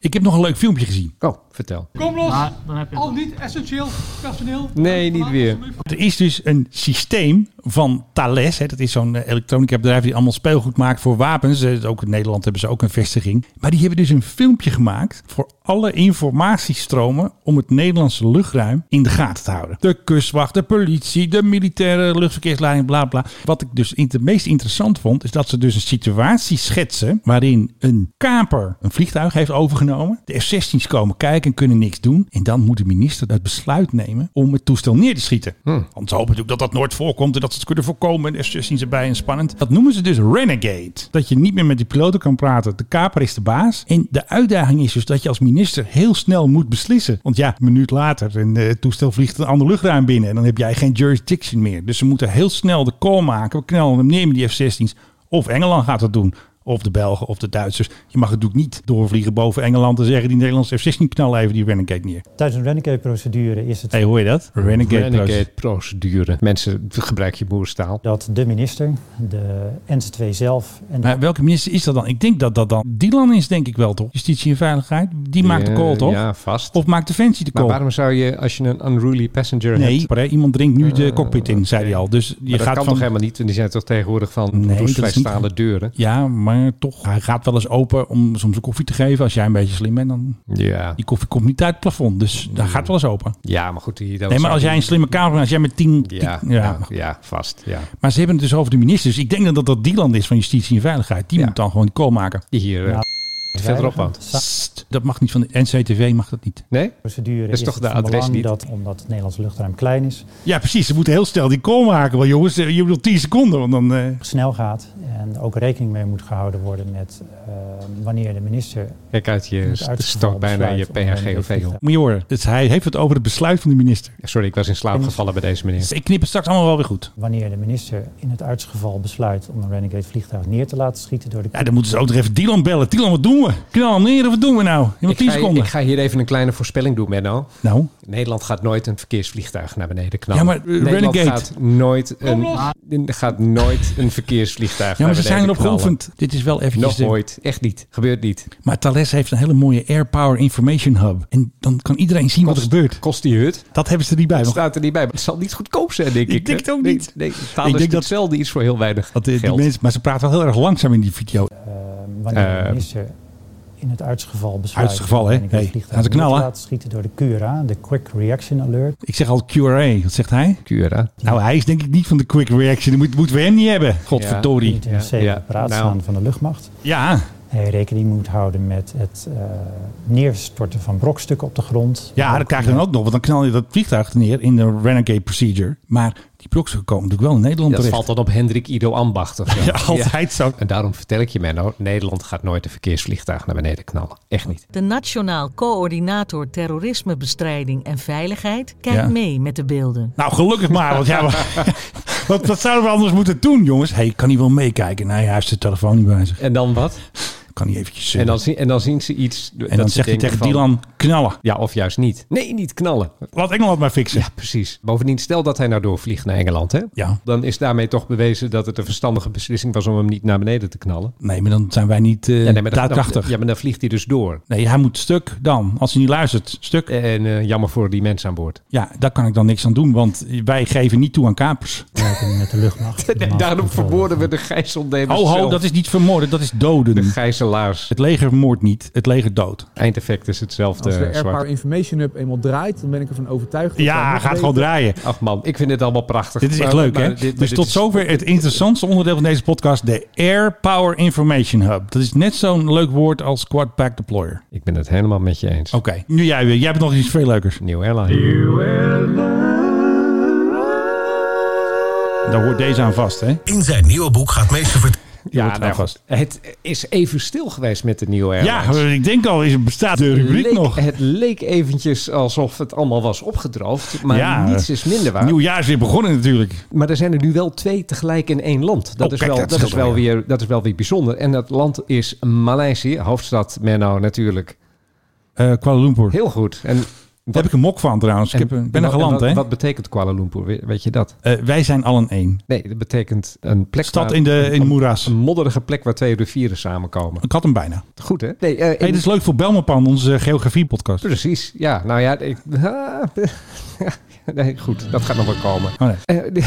[SPEAKER 4] Ik heb nog een leuk filmpje gezien.
[SPEAKER 5] Oh, vertel.
[SPEAKER 9] Kom los! Al niet essentieel personeel.
[SPEAKER 5] Nee, niet weer.
[SPEAKER 4] Er is dus een systeem van Thales. Hè, dat is zo'n eh, elektronica bedrijf die allemaal speelgoed maakt voor wapens. Eh, Ook in Nederland hebben ze ook een vestiging. Maar die hebben dus een filmpje gemaakt voor alle informatiestromen om het Nederlandse luchtruim in de gaten te houden. De kustwacht, de politie, de militaire luchtverkeersleiding, bla bla. Wat ik dus in- het meest interessant vond, is dat ze dus een situatie schetsen waarin een kaper een vliegtuig heeft overgenomen. De F-16's komen kijken en kunnen niks doen. En dan moet de minister het besluit nemen om het toestel neer te schieten. Want ze hopen natuurlijk dat dat nooit voorkomt en dat ze het kunnen voorkomen. En F-16's erbij en spannend. Dat noemen ze dus renegade. Dat je niet meer met die piloten kan praten. De kaper is de baas. En de uitdaging is dus dat je als minister heel snel moet beslissen. Want ja, een minuut later en eh, het toestel vliegt een ander luchtruim binnen. En dan heb jij geen jurisdiction meer. Dus ze moeten heel snel de call maken. We knallen hem nemen, die F-16's. Of Engeland gaat dat doen. Of de Belgen of de Duitsers. Je mag het natuurlijk niet doorvliegen boven Engeland en zeggen... die Nederlandse F-16 knallen even die Renegade neer.
[SPEAKER 10] Tijdens een Renegade-procedure is het
[SPEAKER 4] hey, hoor je dat? Renegade.
[SPEAKER 5] Renegade procedure. Mensen, gebruik je boerstaal.
[SPEAKER 10] dat de minister, de NC2 zelf en de
[SPEAKER 4] Maar welke minister is dat dan? Ik denk dat dat dan Dylan is, denk ik wel, toch? Justitie en Veiligheid. Die maakt de
[SPEAKER 5] Ja,
[SPEAKER 4] call, toch?
[SPEAKER 5] Ja, vast.
[SPEAKER 4] Of maakt Defensie de
[SPEAKER 5] maar
[SPEAKER 4] call?
[SPEAKER 5] waarom zou je, als je een unruly passenger
[SPEAKER 4] nee,
[SPEAKER 5] hebt...
[SPEAKER 4] maar, hè, iemand dringt nu de cockpit in, zei hij al. Dus je
[SPEAKER 5] Eh, Maar dat
[SPEAKER 4] gaat
[SPEAKER 5] kan
[SPEAKER 4] van...
[SPEAKER 5] toch helemaal niet? En die zijn toch tegenwoordig van
[SPEAKER 4] Nee,
[SPEAKER 5] nee,
[SPEAKER 4] dat is niet-
[SPEAKER 5] stalen deuren?
[SPEAKER 4] Ja, maar toch. Hij gaat wel eens open om soms een koffie te geven. Als jij een beetje slim bent, dan...
[SPEAKER 5] Ja.
[SPEAKER 4] Die koffie komt niet uit het plafond, dus dat gaat wel eens open.
[SPEAKER 5] ja, maar goed. Die, dat
[SPEAKER 4] Nee, maar
[SPEAKER 5] zou-
[SPEAKER 4] als jij een slimme kamer bent, als jij met tien... tien-
[SPEAKER 5] Ja,
[SPEAKER 4] ja,
[SPEAKER 5] ja,
[SPEAKER 4] maar goed.
[SPEAKER 5] ja, vast. Ja.
[SPEAKER 4] Maar ze hebben het dus over de ministers. Ik denk dat dat, dat Dylan is van Justitie en Veiligheid. Die
[SPEAKER 5] Ja.
[SPEAKER 4] moet dan gewoon de call maken.
[SPEAKER 5] Die hier eh, verderop woont.
[SPEAKER 4] Sst, dat mag niet van de NCTV, mag dat niet.
[SPEAKER 5] Nee?
[SPEAKER 10] procedure
[SPEAKER 5] Dat is
[SPEAKER 10] is,
[SPEAKER 5] toch
[SPEAKER 10] het
[SPEAKER 5] de
[SPEAKER 10] van
[SPEAKER 5] adres
[SPEAKER 10] belang
[SPEAKER 5] niet?
[SPEAKER 10] dat, omdat het Nederlands luchtruim klein is,
[SPEAKER 4] Ja, precies. Ze moeten heel snel die call maken. Want jongens, eh, je bedoelt 10 seconden. Want dan, eh,
[SPEAKER 10] het snel gaat en ook rekening mee moet gehouden worden met eh, wanneer de minister
[SPEAKER 5] Kijk uit, je
[SPEAKER 10] het
[SPEAKER 5] stort
[SPEAKER 10] uitgeval
[SPEAKER 5] bijna je
[SPEAKER 10] besluit om een
[SPEAKER 5] PHGOV op.
[SPEAKER 10] vliegtuig-
[SPEAKER 4] moet je horen. Dus hij heeft het over het besluit van de minister.
[SPEAKER 5] Sorry, ik was in slaap gevallen bij deze meneer.
[SPEAKER 4] Dus ik knip het straks allemaal wel weer goed.
[SPEAKER 10] Wanneer de minister in het uitsgeval besluit om een Renegade vliegtuig neer te laten schieten door de
[SPEAKER 4] Ja, dan moeten ze ook nog even Dylan bellen. Dylan, wat doen we? Knal hem neer of wat doen we nou? Je hebt
[SPEAKER 5] Ik
[SPEAKER 4] 10
[SPEAKER 5] ga,
[SPEAKER 4] seconden.
[SPEAKER 5] ik ga hier even een kleine voorspelling doen, Menno.
[SPEAKER 4] Nou,
[SPEAKER 5] Nederland gaat nooit een verkeersvliegtuig naar beneden knallen.
[SPEAKER 4] Ja, maar, eh,
[SPEAKER 5] Nederland
[SPEAKER 4] Renegade.
[SPEAKER 5] gaat nooit een, gaat nooit een verkeersvliegtuig
[SPEAKER 4] ja,
[SPEAKER 5] naar
[SPEAKER 4] maar ze
[SPEAKER 5] beneden
[SPEAKER 4] zijn erop
[SPEAKER 5] knallen.
[SPEAKER 4] geoefend. Dit is wel eventjes...
[SPEAKER 5] Nog
[SPEAKER 4] de-
[SPEAKER 5] nooit. Echt niet. Gebeurt niet.
[SPEAKER 4] Maar Thales heeft een hele mooie Air Power Information Hub. En dan kan iedereen zien wat er gebeurt.
[SPEAKER 5] Kost die hut.
[SPEAKER 4] Dat hebben ze er niet bij.
[SPEAKER 5] Dat
[SPEAKER 4] nog.
[SPEAKER 5] staat er niet bij. Maar het zal niet goedkoop zijn, denk ik.
[SPEAKER 4] Ik denk het ook
[SPEAKER 5] Nee,
[SPEAKER 4] niet.
[SPEAKER 5] Nee,
[SPEAKER 4] Ik
[SPEAKER 5] ik
[SPEAKER 4] denk
[SPEAKER 5] denk
[SPEAKER 4] dat-
[SPEAKER 5] dat zelden iets voor heel weinig
[SPEAKER 4] Want, eh, die
[SPEAKER 5] geld.
[SPEAKER 4] mensen, maar ze praten wel heel erg langzaam in die video.
[SPEAKER 10] Eh, wanneer
[SPEAKER 5] Eh,
[SPEAKER 10] de minister in het uitsgeval besluit...
[SPEAKER 4] Uitsgeval,
[SPEAKER 10] om
[SPEAKER 4] hè?
[SPEAKER 10] een Renegade
[SPEAKER 4] Hey,
[SPEAKER 10] vliegtuig
[SPEAKER 4] gaan ze
[SPEAKER 10] neer te
[SPEAKER 4] knallen.
[SPEAKER 10] laten schieten door de QRA, de Quick Reaction Alert.
[SPEAKER 4] Ik zeg al QRA. Wat zegt hij?
[SPEAKER 5] Cura.
[SPEAKER 4] Nou, hij is denk ik niet van de quick reaction. Dat moet- moeten we hem niet hebben.
[SPEAKER 10] Die
[SPEAKER 4] Godverdorie.
[SPEAKER 10] moet in een zeker
[SPEAKER 5] ja,
[SPEAKER 10] apparaat
[SPEAKER 5] nou.
[SPEAKER 10] staan van de luchtmacht.
[SPEAKER 4] Ja,
[SPEAKER 10] Hij eh, rekening moet houden met het eh, neerstorten van brokstukken op de grond.
[SPEAKER 4] ja dat krijg je dan ook nog. Want dan knal je dat vliegtuig neer in de Renegade Procedure. Maar die brokstukken komen natuurlijk wel in Nederland
[SPEAKER 5] Dat
[SPEAKER 4] terecht.
[SPEAKER 5] valt dan op Hendrik Ido Ambacht of zo.
[SPEAKER 4] Ja, altijd zo.
[SPEAKER 5] En daarom vertel ik je, Menno. Nederland gaat nooit een verkeersvliegtuig naar beneden knallen. Echt niet.
[SPEAKER 11] De Nationaal Coördinator Terrorismebestrijding en Veiligheid kijkt
[SPEAKER 4] Ja.
[SPEAKER 11] mee met de beelden.
[SPEAKER 4] Nou, gelukkig maar. Want ja, wat, wat zouden we anders moeten doen, jongens? Hé, hey, kan hij wel meekijken? Nee, hij heeft zijn telefoon niet bij zich.
[SPEAKER 5] En dan wat?
[SPEAKER 4] Kan hij eventjes... eh,
[SPEAKER 5] En dan, zien, en dan zien ze iets.
[SPEAKER 4] en dan zegt hij tegen Dylan, knallen.
[SPEAKER 5] Ja, of juist niet. Nee, niet knallen.
[SPEAKER 4] Laat Engeland maar fixen.
[SPEAKER 5] Ja, precies. Bovendien, stel dat hij nou doorvliegt naar Engeland, hè?
[SPEAKER 4] Ja.
[SPEAKER 5] Dan is daarmee toch bewezen dat het een verstandige beslissing was om hem niet naar beneden te knallen.
[SPEAKER 4] Nee, maar dan zijn wij niet eh
[SPEAKER 5] Ja, nee, maar dan-
[SPEAKER 4] daadkrachtig.
[SPEAKER 5] ja, maar dan vliegt hij dus door.
[SPEAKER 4] Nee, hij moet stuk dan. Als hij niet luistert, stuk.
[SPEAKER 5] En eh, jammer voor die mensen aan boord.
[SPEAKER 4] Ja, daar kan ik dan niks aan doen, want wij geven niet toe aan kapers.
[SPEAKER 10] werken met de luchtmacht.
[SPEAKER 5] Nee, daarom vermoorden we de gijzelnemers
[SPEAKER 4] Oh, Ho, ho,
[SPEAKER 5] zelf.
[SPEAKER 4] dat is niet vermoorden, dat is doden.
[SPEAKER 5] Dus, eh, De gijzelaars.
[SPEAKER 4] Het leger moordt niet, het leger dood.
[SPEAKER 5] Het eindeffect is
[SPEAKER 12] Als de
[SPEAKER 4] eh,
[SPEAKER 5] hetzelfde.
[SPEAKER 12] Airpower
[SPEAKER 5] Zwart.
[SPEAKER 12] Information Hub eenmaal draait, dan ben ik ervan overtuigd. dat wij
[SPEAKER 4] Ja,
[SPEAKER 12] nog
[SPEAKER 4] gaat
[SPEAKER 12] beter-
[SPEAKER 4] gewoon draaien.
[SPEAKER 5] Ach man, ik vind dit allemaal prachtig.
[SPEAKER 4] Dit is echt
[SPEAKER 5] Maar-
[SPEAKER 4] leuk,
[SPEAKER 5] maar
[SPEAKER 4] hè?
[SPEAKER 5] dit- maar
[SPEAKER 4] dus
[SPEAKER 5] dit
[SPEAKER 4] tot
[SPEAKER 5] is-
[SPEAKER 4] zover het interessantste onderdeel van deze podcast, de Air Power Information Hub. Dat is net zo'n leuk woord als Quadpack Deployer.
[SPEAKER 5] Ik ben het helemaal met je eens.
[SPEAKER 4] Oké, nu jij weer. Jij hebt nog iets veel leukers.
[SPEAKER 5] Nieuw airline.
[SPEAKER 4] Daar hoort deze aan vast, hè?
[SPEAKER 6] In zijn nieuwe boek gaat meester vertellen.
[SPEAKER 4] hoort
[SPEAKER 5] Ja,
[SPEAKER 4] eraan
[SPEAKER 5] nou,
[SPEAKER 4] vast.
[SPEAKER 5] goed. het is even stil geweest met de nieuwe airline.
[SPEAKER 4] Ja, ik denk al, is bestaat de rubriek
[SPEAKER 5] leek-
[SPEAKER 4] nog.
[SPEAKER 5] Het leek eventjes alsof het allemaal was opgedroogd. Maar
[SPEAKER 4] Ja,
[SPEAKER 5] niets is minder waar.
[SPEAKER 4] Nieuw jaar is weer begonnen natuurlijk.
[SPEAKER 5] Maar er zijn er nu wel twee tegelijk in één land. Dat,
[SPEAKER 4] Oh,
[SPEAKER 5] is,
[SPEAKER 4] kijk,
[SPEAKER 5] wel,
[SPEAKER 4] dat
[SPEAKER 5] dat, is,
[SPEAKER 4] scheelt
[SPEAKER 5] wel
[SPEAKER 4] wel,
[SPEAKER 5] weer, dat is wel weer bijzonder. En dat land is Maleisië, hoofdstad Menno natuurlijk.
[SPEAKER 4] Eh Kuala Lumpur.
[SPEAKER 5] Heel goed. En
[SPEAKER 4] Daar heb ik een mok van trouwens. Ik heb een- ben er
[SPEAKER 5] en
[SPEAKER 4] geland,
[SPEAKER 5] wat,
[SPEAKER 4] hè?
[SPEAKER 5] Wat betekent Kuala Lumpur? We- Weet je dat?
[SPEAKER 4] Eh, wij zijn allen één.
[SPEAKER 5] Nee, dat betekent een plek.
[SPEAKER 4] Stad
[SPEAKER 5] waar-
[SPEAKER 4] in de, in de moeras.
[SPEAKER 5] Een modderige plek waar twee rivieren samenkomen.
[SPEAKER 4] Ik had hem bijna.
[SPEAKER 5] Goed, hè? Nee, eh,
[SPEAKER 4] Hey,
[SPEAKER 5] in-
[SPEAKER 4] dit is leuk voor Belmopan, onze geografie-podcast.
[SPEAKER 5] Precies, ja. Nou ja, ik, ah, nee, goed, dat gaat nog wel komen.
[SPEAKER 4] Oh, nee.
[SPEAKER 5] Eh, die-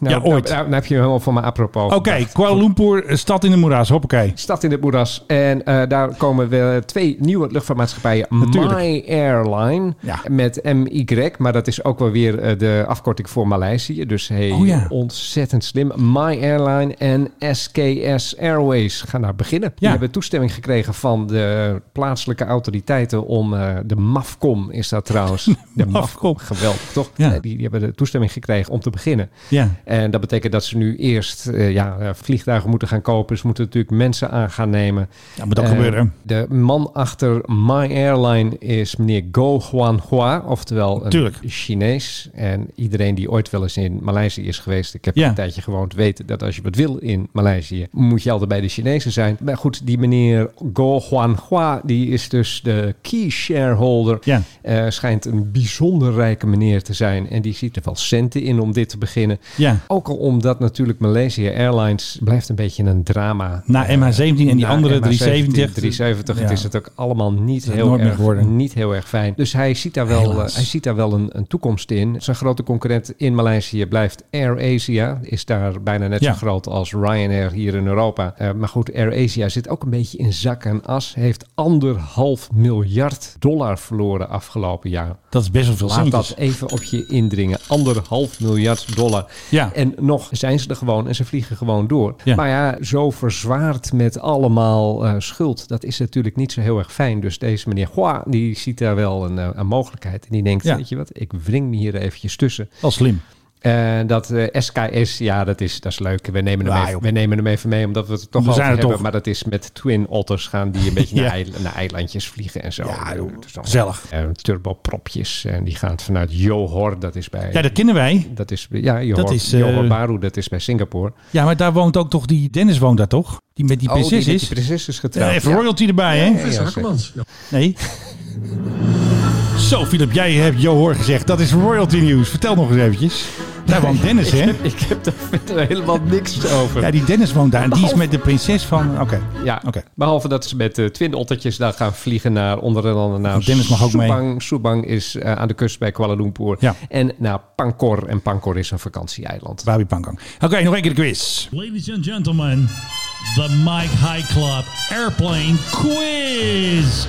[SPEAKER 5] nou,
[SPEAKER 4] Ja, ooit.
[SPEAKER 5] Nou, nou heb je hem helemaal van me apropos.
[SPEAKER 4] Oké,
[SPEAKER 5] gebracht.
[SPEAKER 4] Kuala Lumpur, eh, stad in de moeras. Hoppakee.
[SPEAKER 5] Stad in het moeras. En eh, daar komen we twee nieuwe luchtvaartmaatschappijen.
[SPEAKER 4] Natuurlijk.
[SPEAKER 5] My Airline
[SPEAKER 4] Ja.
[SPEAKER 5] met MY. Maar dat is ook wel weer eh, de afkorting voor Maleisië. Dus hey,
[SPEAKER 4] Oh ja.
[SPEAKER 5] ontzettend slim. My Airline en SKS Airways gaan daar beginnen. Die
[SPEAKER 4] Ja.
[SPEAKER 5] hebben toestemming gekregen van de plaatselijke autoriteiten om eh, de MAFCOM is dat trouwens. De
[SPEAKER 4] MAFCOM.
[SPEAKER 5] Geweldig, toch?
[SPEAKER 4] Ja.
[SPEAKER 5] Eh, Die, die hebben de toestemming gekregen om te beginnen.
[SPEAKER 4] Ja.
[SPEAKER 5] En dat betekent dat ze nu eerst eh, ja, eh, vliegtuigen moeten gaan kopen. Ze moeten natuurlijk mensen aan gaan nemen.
[SPEAKER 4] Ja, moet ook
[SPEAKER 5] Eh,
[SPEAKER 4] gebeuren.
[SPEAKER 5] De man achter My Airline is meneer Go Huan Hua, oftewel een
[SPEAKER 4] Tuurlijk.
[SPEAKER 5] Chinees. En iedereen die ooit wel eens in Maleisië is geweest, ik heb
[SPEAKER 4] Ja.
[SPEAKER 5] een tijdje gewoond, weet dat als je wat wil in Maleisië, moet je altijd bij de Chinezen zijn. Maar goed, die meneer Go Huan Hua, die is dus de key shareholder.
[SPEAKER 4] Ja.
[SPEAKER 5] Eh, schijnt een bijzonder rijke meneer te zijn. En die ziet er wel centen in om dit te beginnen.
[SPEAKER 4] Ja.
[SPEAKER 5] Ook al omdat natuurlijk Malaysia Airlines blijft een beetje een drama.
[SPEAKER 4] Na MH17 en die
[SPEAKER 5] eh, Na
[SPEAKER 4] andere
[SPEAKER 5] MH17,
[SPEAKER 4] 370.
[SPEAKER 5] 370 het
[SPEAKER 4] Ja.
[SPEAKER 5] is het ook allemaal niet
[SPEAKER 4] Het
[SPEAKER 5] heel,
[SPEAKER 4] nooit meer
[SPEAKER 5] erg,
[SPEAKER 4] geworden.
[SPEAKER 5] niet heel erg fijn. Dus hij ziet daar wel,
[SPEAKER 4] Helaas.
[SPEAKER 5] eh, hij ziet daar wel een, een toekomst in. Zijn grote concurrent in Maleisië blijft AirAsia. Is daar bijna net
[SPEAKER 4] Ja.
[SPEAKER 5] zo groot als Ryanair hier in Europa. Eh, maar goed, AirAsia zit ook een beetje in zak en as. Heeft anderhalf miljard dollar verloren afgelopen jaar.
[SPEAKER 4] Dat is best wel veel
[SPEAKER 5] Laat dat
[SPEAKER 4] centjes.
[SPEAKER 5] even op je indringen. Anderhalf miljard dollar.
[SPEAKER 4] Ja.
[SPEAKER 5] En nog zijn ze er gewoon en ze vliegen gewoon door.
[SPEAKER 4] Ja.
[SPEAKER 5] Maar ja, zo verzwaard met allemaal eh, schuld. Dat is natuurlijk niet zo heel erg fijn. Dus deze meneer Hua, die ziet daar wel een, eh, een mogelijkheid. En die denkt,
[SPEAKER 4] Ja.
[SPEAKER 5] weet je wat, ik wring me hier eventjes tussen.
[SPEAKER 4] Wel slim.
[SPEAKER 5] Eh, dat eh, SKS, ja, dat is, dat is leuk. We nemen, hem
[SPEAKER 4] Nou,
[SPEAKER 5] even,
[SPEAKER 4] joh.
[SPEAKER 5] we nemen hem even mee, omdat we het er toch
[SPEAKER 4] We
[SPEAKER 5] al
[SPEAKER 4] zijn er
[SPEAKER 5] hebben.
[SPEAKER 4] toch.
[SPEAKER 5] Maar dat is met Twin Otters gaan die een beetje
[SPEAKER 4] Ja.
[SPEAKER 5] naar, eil- naar eilandjes vliegen en zo.
[SPEAKER 4] Ja, joh,
[SPEAKER 5] Het is allemaal-
[SPEAKER 4] gezellig.
[SPEAKER 5] eh, turbopropjes. En die gaat vanuit Johor, dat is bij...
[SPEAKER 4] Ja, dat kennen wij.
[SPEAKER 5] dat is, ja, Johor,
[SPEAKER 4] Dat is, eh,
[SPEAKER 5] Johor Bahru, dat is bij Singapore.
[SPEAKER 4] Ja, maar daar woont ook toch die... Dennis woont daar toch? Die met die
[SPEAKER 5] Oh,
[SPEAKER 4] prinses
[SPEAKER 5] die, met
[SPEAKER 4] is.
[SPEAKER 5] die prinses is
[SPEAKER 4] Eh,
[SPEAKER 5] getrouwd.
[SPEAKER 4] even
[SPEAKER 5] Ja.
[SPEAKER 4] royalty erbij, hè?
[SPEAKER 5] Ja,
[SPEAKER 4] Nee. Zo, Philip, jij hebt Johor gezegd. Dat is royalty nieuws. Vertel nog eens eventjes. Daar woont Dennis,
[SPEAKER 5] ik,
[SPEAKER 4] hè?
[SPEAKER 5] heb, ik heb daar verder helemaal niks over.
[SPEAKER 4] Ja,
[SPEAKER 5] Ja,
[SPEAKER 4] die Dennis woont daar. En die is met de prinses van... Oké. Oké.
[SPEAKER 5] behalve dat ze met de twin ottertjes daar gaan vliegen naar onder andere naar
[SPEAKER 4] Dennis mag ook mee.
[SPEAKER 5] Subang. Subang is eh, aan de kust bij Kuala Lumpur.
[SPEAKER 4] Ja.
[SPEAKER 5] En naar Pankor. En Pankor is een vakantieeiland.
[SPEAKER 4] Babi Pangang. Oké, nog één keer de quiz.
[SPEAKER 8] Ladies and gentlemen, the Mike High Club Airplane Quiz.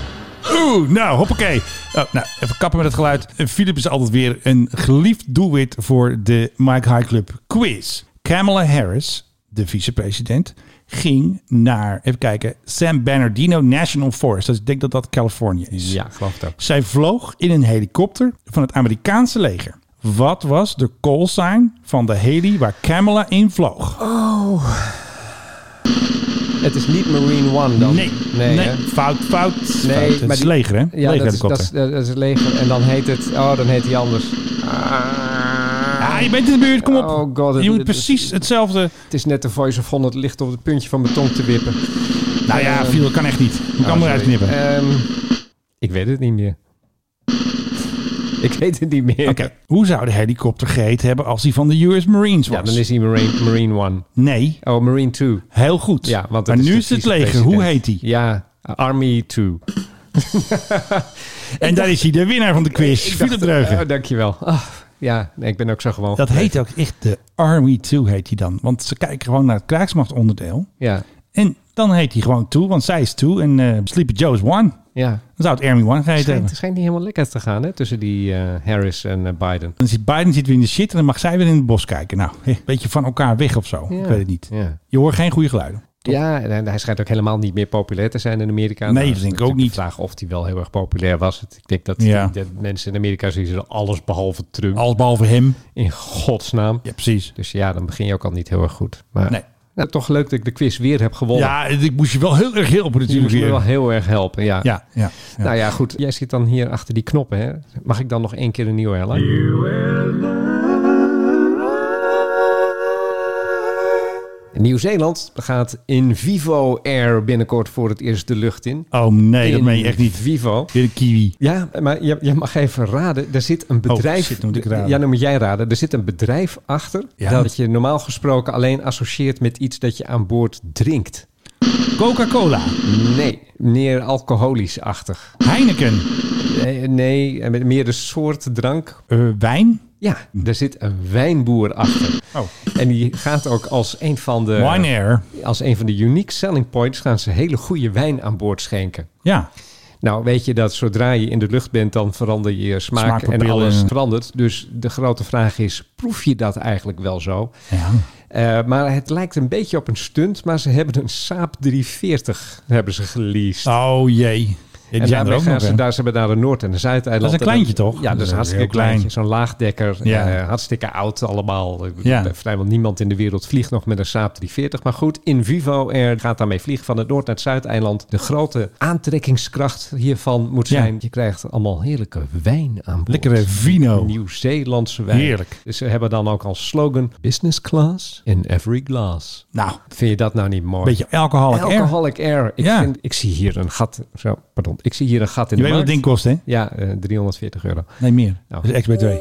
[SPEAKER 4] Oeh, nou, hoppakee. Oh, nou, even kappen met het geluid. Eh, Philip is altijd weer een geliefd doelwit voor de Mike High Club quiz. Kamala Harris, de vicepresident, ging naar, even kijken, San Bernardino National Forest. Dus ik denk dat dat Californië is.
[SPEAKER 5] Ja, geloof het ook.
[SPEAKER 4] Zij vloog in een helikopter van het Amerikaanse leger. Wat was de callsign van de heli waar Kamala in vloog?
[SPEAKER 5] Oh. Het is niet Marine One dan.
[SPEAKER 4] nee, nee,
[SPEAKER 5] hè?
[SPEAKER 4] fout, fout.
[SPEAKER 5] Nee,
[SPEAKER 4] fout. Het
[SPEAKER 5] maar
[SPEAKER 4] is
[SPEAKER 5] die-
[SPEAKER 4] leger, hè?
[SPEAKER 5] Ja, dat is, dat,
[SPEAKER 4] Legerhelikopter.
[SPEAKER 5] is, dat is het leger. En dan heet het... Oh, dan heet hij anders.
[SPEAKER 4] Ja, je bent in de buurt, kom op.
[SPEAKER 5] Oh god, het-
[SPEAKER 4] je moet
[SPEAKER 5] het-
[SPEAKER 4] precies hetzelfde.
[SPEAKER 5] Het is net de Voice of 100 ligt op het puntje van mijn tong te wippen.
[SPEAKER 4] Nou ja,
[SPEAKER 5] Ehm,
[SPEAKER 4] viel kan echt niet. Hoe kan
[SPEAKER 5] oh,
[SPEAKER 4] maar
[SPEAKER 5] sorry.
[SPEAKER 4] uitknippen?
[SPEAKER 5] Ehm, ik weet het niet meer. Ik weet het niet meer.
[SPEAKER 4] Oké, hoe zou de helikopter gegeten hebben als die van de US Marines was?
[SPEAKER 5] eh, Ja, dan is hij Marine, Marine One.
[SPEAKER 4] Nee.
[SPEAKER 5] Oh, Marine 2.
[SPEAKER 4] Heel goed.
[SPEAKER 5] Ja, want
[SPEAKER 4] Maar
[SPEAKER 5] dat
[SPEAKER 4] nu
[SPEAKER 5] de
[SPEAKER 4] is het
[SPEAKER 5] vicepresident.
[SPEAKER 4] leger. Hoe heet hij?
[SPEAKER 5] Ja, Army 2.
[SPEAKER 4] En daar is hij de winnaar van de quiz. Philip Dreugen.
[SPEAKER 5] Oh, dankjewel. Ah, ja, nee, ik ben ook zo gewoon.
[SPEAKER 4] Dat heet ook echt de Army 2 heet hij dan. Want ze kijken gewoon naar het krijgsmachtonderdeel.
[SPEAKER 5] Ja.
[SPEAKER 4] En dan heet hij gewoon 2, want zij is 2 en eh Sleepy Joe is 1.
[SPEAKER 5] Ja.
[SPEAKER 4] Dan zou het Army 1 geheten
[SPEAKER 5] Het schijnt,
[SPEAKER 4] hebben.
[SPEAKER 5] het schijnt niet helemaal lekker te gaan hè, tussen die eh, Harris en eh, Biden.
[SPEAKER 4] Dan zit Biden zit weer in de shit en dan mag zij weer in het bos kijken. Nou, een beetje van elkaar weg of zo. Ik weet het niet.
[SPEAKER 5] Ja.
[SPEAKER 4] Je hoort geen goede geluiden.
[SPEAKER 5] Ja, en hij- hij schijnt ook helemaal niet meer populair te zijn in Amerika.
[SPEAKER 4] Nee,
[SPEAKER 5] Nou,
[SPEAKER 4] dat denk ik
[SPEAKER 5] is
[SPEAKER 4] ook
[SPEAKER 5] natuurlijk
[SPEAKER 4] niet.
[SPEAKER 5] De vraag of hij wel heel erg populair was. Ik denk dat,
[SPEAKER 4] Ja.
[SPEAKER 5] die- dat mensen in Amerika zien alles behalve Trump.
[SPEAKER 4] Alles behalve hem.
[SPEAKER 5] In godsnaam.
[SPEAKER 4] Ja, precies.
[SPEAKER 5] Dus ja, dan begin je ook al niet heel erg goed. Maar
[SPEAKER 4] Nee.
[SPEAKER 5] nou, toch leuk dat ik de quiz weer heb gewonnen.
[SPEAKER 4] Ja, ik moest je wel heel erg helpen
[SPEAKER 5] Je
[SPEAKER 4] natuurlijk
[SPEAKER 5] moest me
[SPEAKER 4] weer.
[SPEAKER 5] wel heel erg helpen, ja.
[SPEAKER 4] Ja, ja, ja.
[SPEAKER 5] Nou ja, goed. Jij zit dan hier achter die knoppen, hè? Mag ik dan nog één keer een nieuwe airline? Nieuw-Zeeland gaat in Vivo Air binnenkort voor het eerst de lucht in.
[SPEAKER 4] Oh nee, dat
[SPEAKER 5] Nou, In
[SPEAKER 4] meen je echt niet.
[SPEAKER 5] Vivo.
[SPEAKER 4] Weer een kiwi.
[SPEAKER 5] Ja, maar je, je mag even raden. Er zit een bedrijf...
[SPEAKER 4] Oh, shit, dan moet ik raden.
[SPEAKER 5] Ja, dan moet jij raden. Er zit een bedrijf achter...
[SPEAKER 4] Ja.
[SPEAKER 5] dat je normaal gesproken alleen associeert met iets dat je aan boord drinkt.
[SPEAKER 4] Coca-Cola.
[SPEAKER 5] Nee, meer alcoholisch-achtig.
[SPEAKER 4] Heineken.
[SPEAKER 5] Nee, nee, eh, met meer een soort drank.
[SPEAKER 4] Eh, wijn.
[SPEAKER 5] Ja, er zit een wijnboer achter.
[SPEAKER 4] Oh.
[SPEAKER 5] En die gaat ook als een van de...
[SPEAKER 4] Eh. Wine Air.
[SPEAKER 5] Als een van de unique selling points gaan ze hele goede wijn aan boord schenken.
[SPEAKER 4] Ja.
[SPEAKER 5] Nou, weet je dat zodra je in de lucht bent, dan verander je je smaak en
[SPEAKER 4] Smaakpapillen.
[SPEAKER 5] alles verandert. Dus de grote vraag is, proef je dat eigenlijk wel zo?
[SPEAKER 4] Ja.
[SPEAKER 5] Eh, maar het lijkt een beetje op een stunt, maar ze hebben een Saab 340 hebben ze geleased.
[SPEAKER 4] Oh jee. Ja, die
[SPEAKER 5] en
[SPEAKER 4] zijn er
[SPEAKER 5] daarmee
[SPEAKER 4] ook
[SPEAKER 5] gaan
[SPEAKER 4] nog. hè?
[SPEAKER 5] ze, daar, ze hebben daar een Noord- en een Zuideiland.
[SPEAKER 4] Dat is een
[SPEAKER 5] En
[SPEAKER 4] kleintje, toch?
[SPEAKER 5] Ja, dat
[SPEAKER 4] Dat
[SPEAKER 5] is
[SPEAKER 4] is
[SPEAKER 5] een hartstikke
[SPEAKER 4] heel klein.
[SPEAKER 5] kleintje. Zo'n laagdekker,
[SPEAKER 4] Ja.
[SPEAKER 5] eh, hartstikke oud allemaal. Ik
[SPEAKER 4] Ja.
[SPEAKER 5] bedoel, Vrijwel niemand in de wereld vliegt nog met een Saab 340. Maar goed, in Vivo Air gaat daarmee vliegen van het Noord- naar het Zuideiland. De grote aantrekkingskracht hiervan moet
[SPEAKER 4] Ja.
[SPEAKER 5] zijn... je krijgt allemaal heerlijke wijn aan boord.
[SPEAKER 4] Lekkere vino.
[SPEAKER 5] Nieuw-Zeelandse wijn.
[SPEAKER 4] Heerlijk.
[SPEAKER 5] Dus ze hebben dan ook als slogan... Business class in every glass.
[SPEAKER 4] Nou,
[SPEAKER 5] Vind je dat nou niet mooi?
[SPEAKER 4] een beetje alcoholic air.
[SPEAKER 5] Alcoholic Air. Ik,
[SPEAKER 4] Ja.
[SPEAKER 5] vind, ik zie hier een gat. Zo, pardon. Ik zie hier een gat in
[SPEAKER 4] Je
[SPEAKER 5] de
[SPEAKER 4] weet wat het
[SPEAKER 5] markt.
[SPEAKER 4] ding kost, hè?
[SPEAKER 5] Ja, eh, 340 euro.
[SPEAKER 4] Nee, meer.
[SPEAKER 5] Nou.
[SPEAKER 4] Dat is XB2.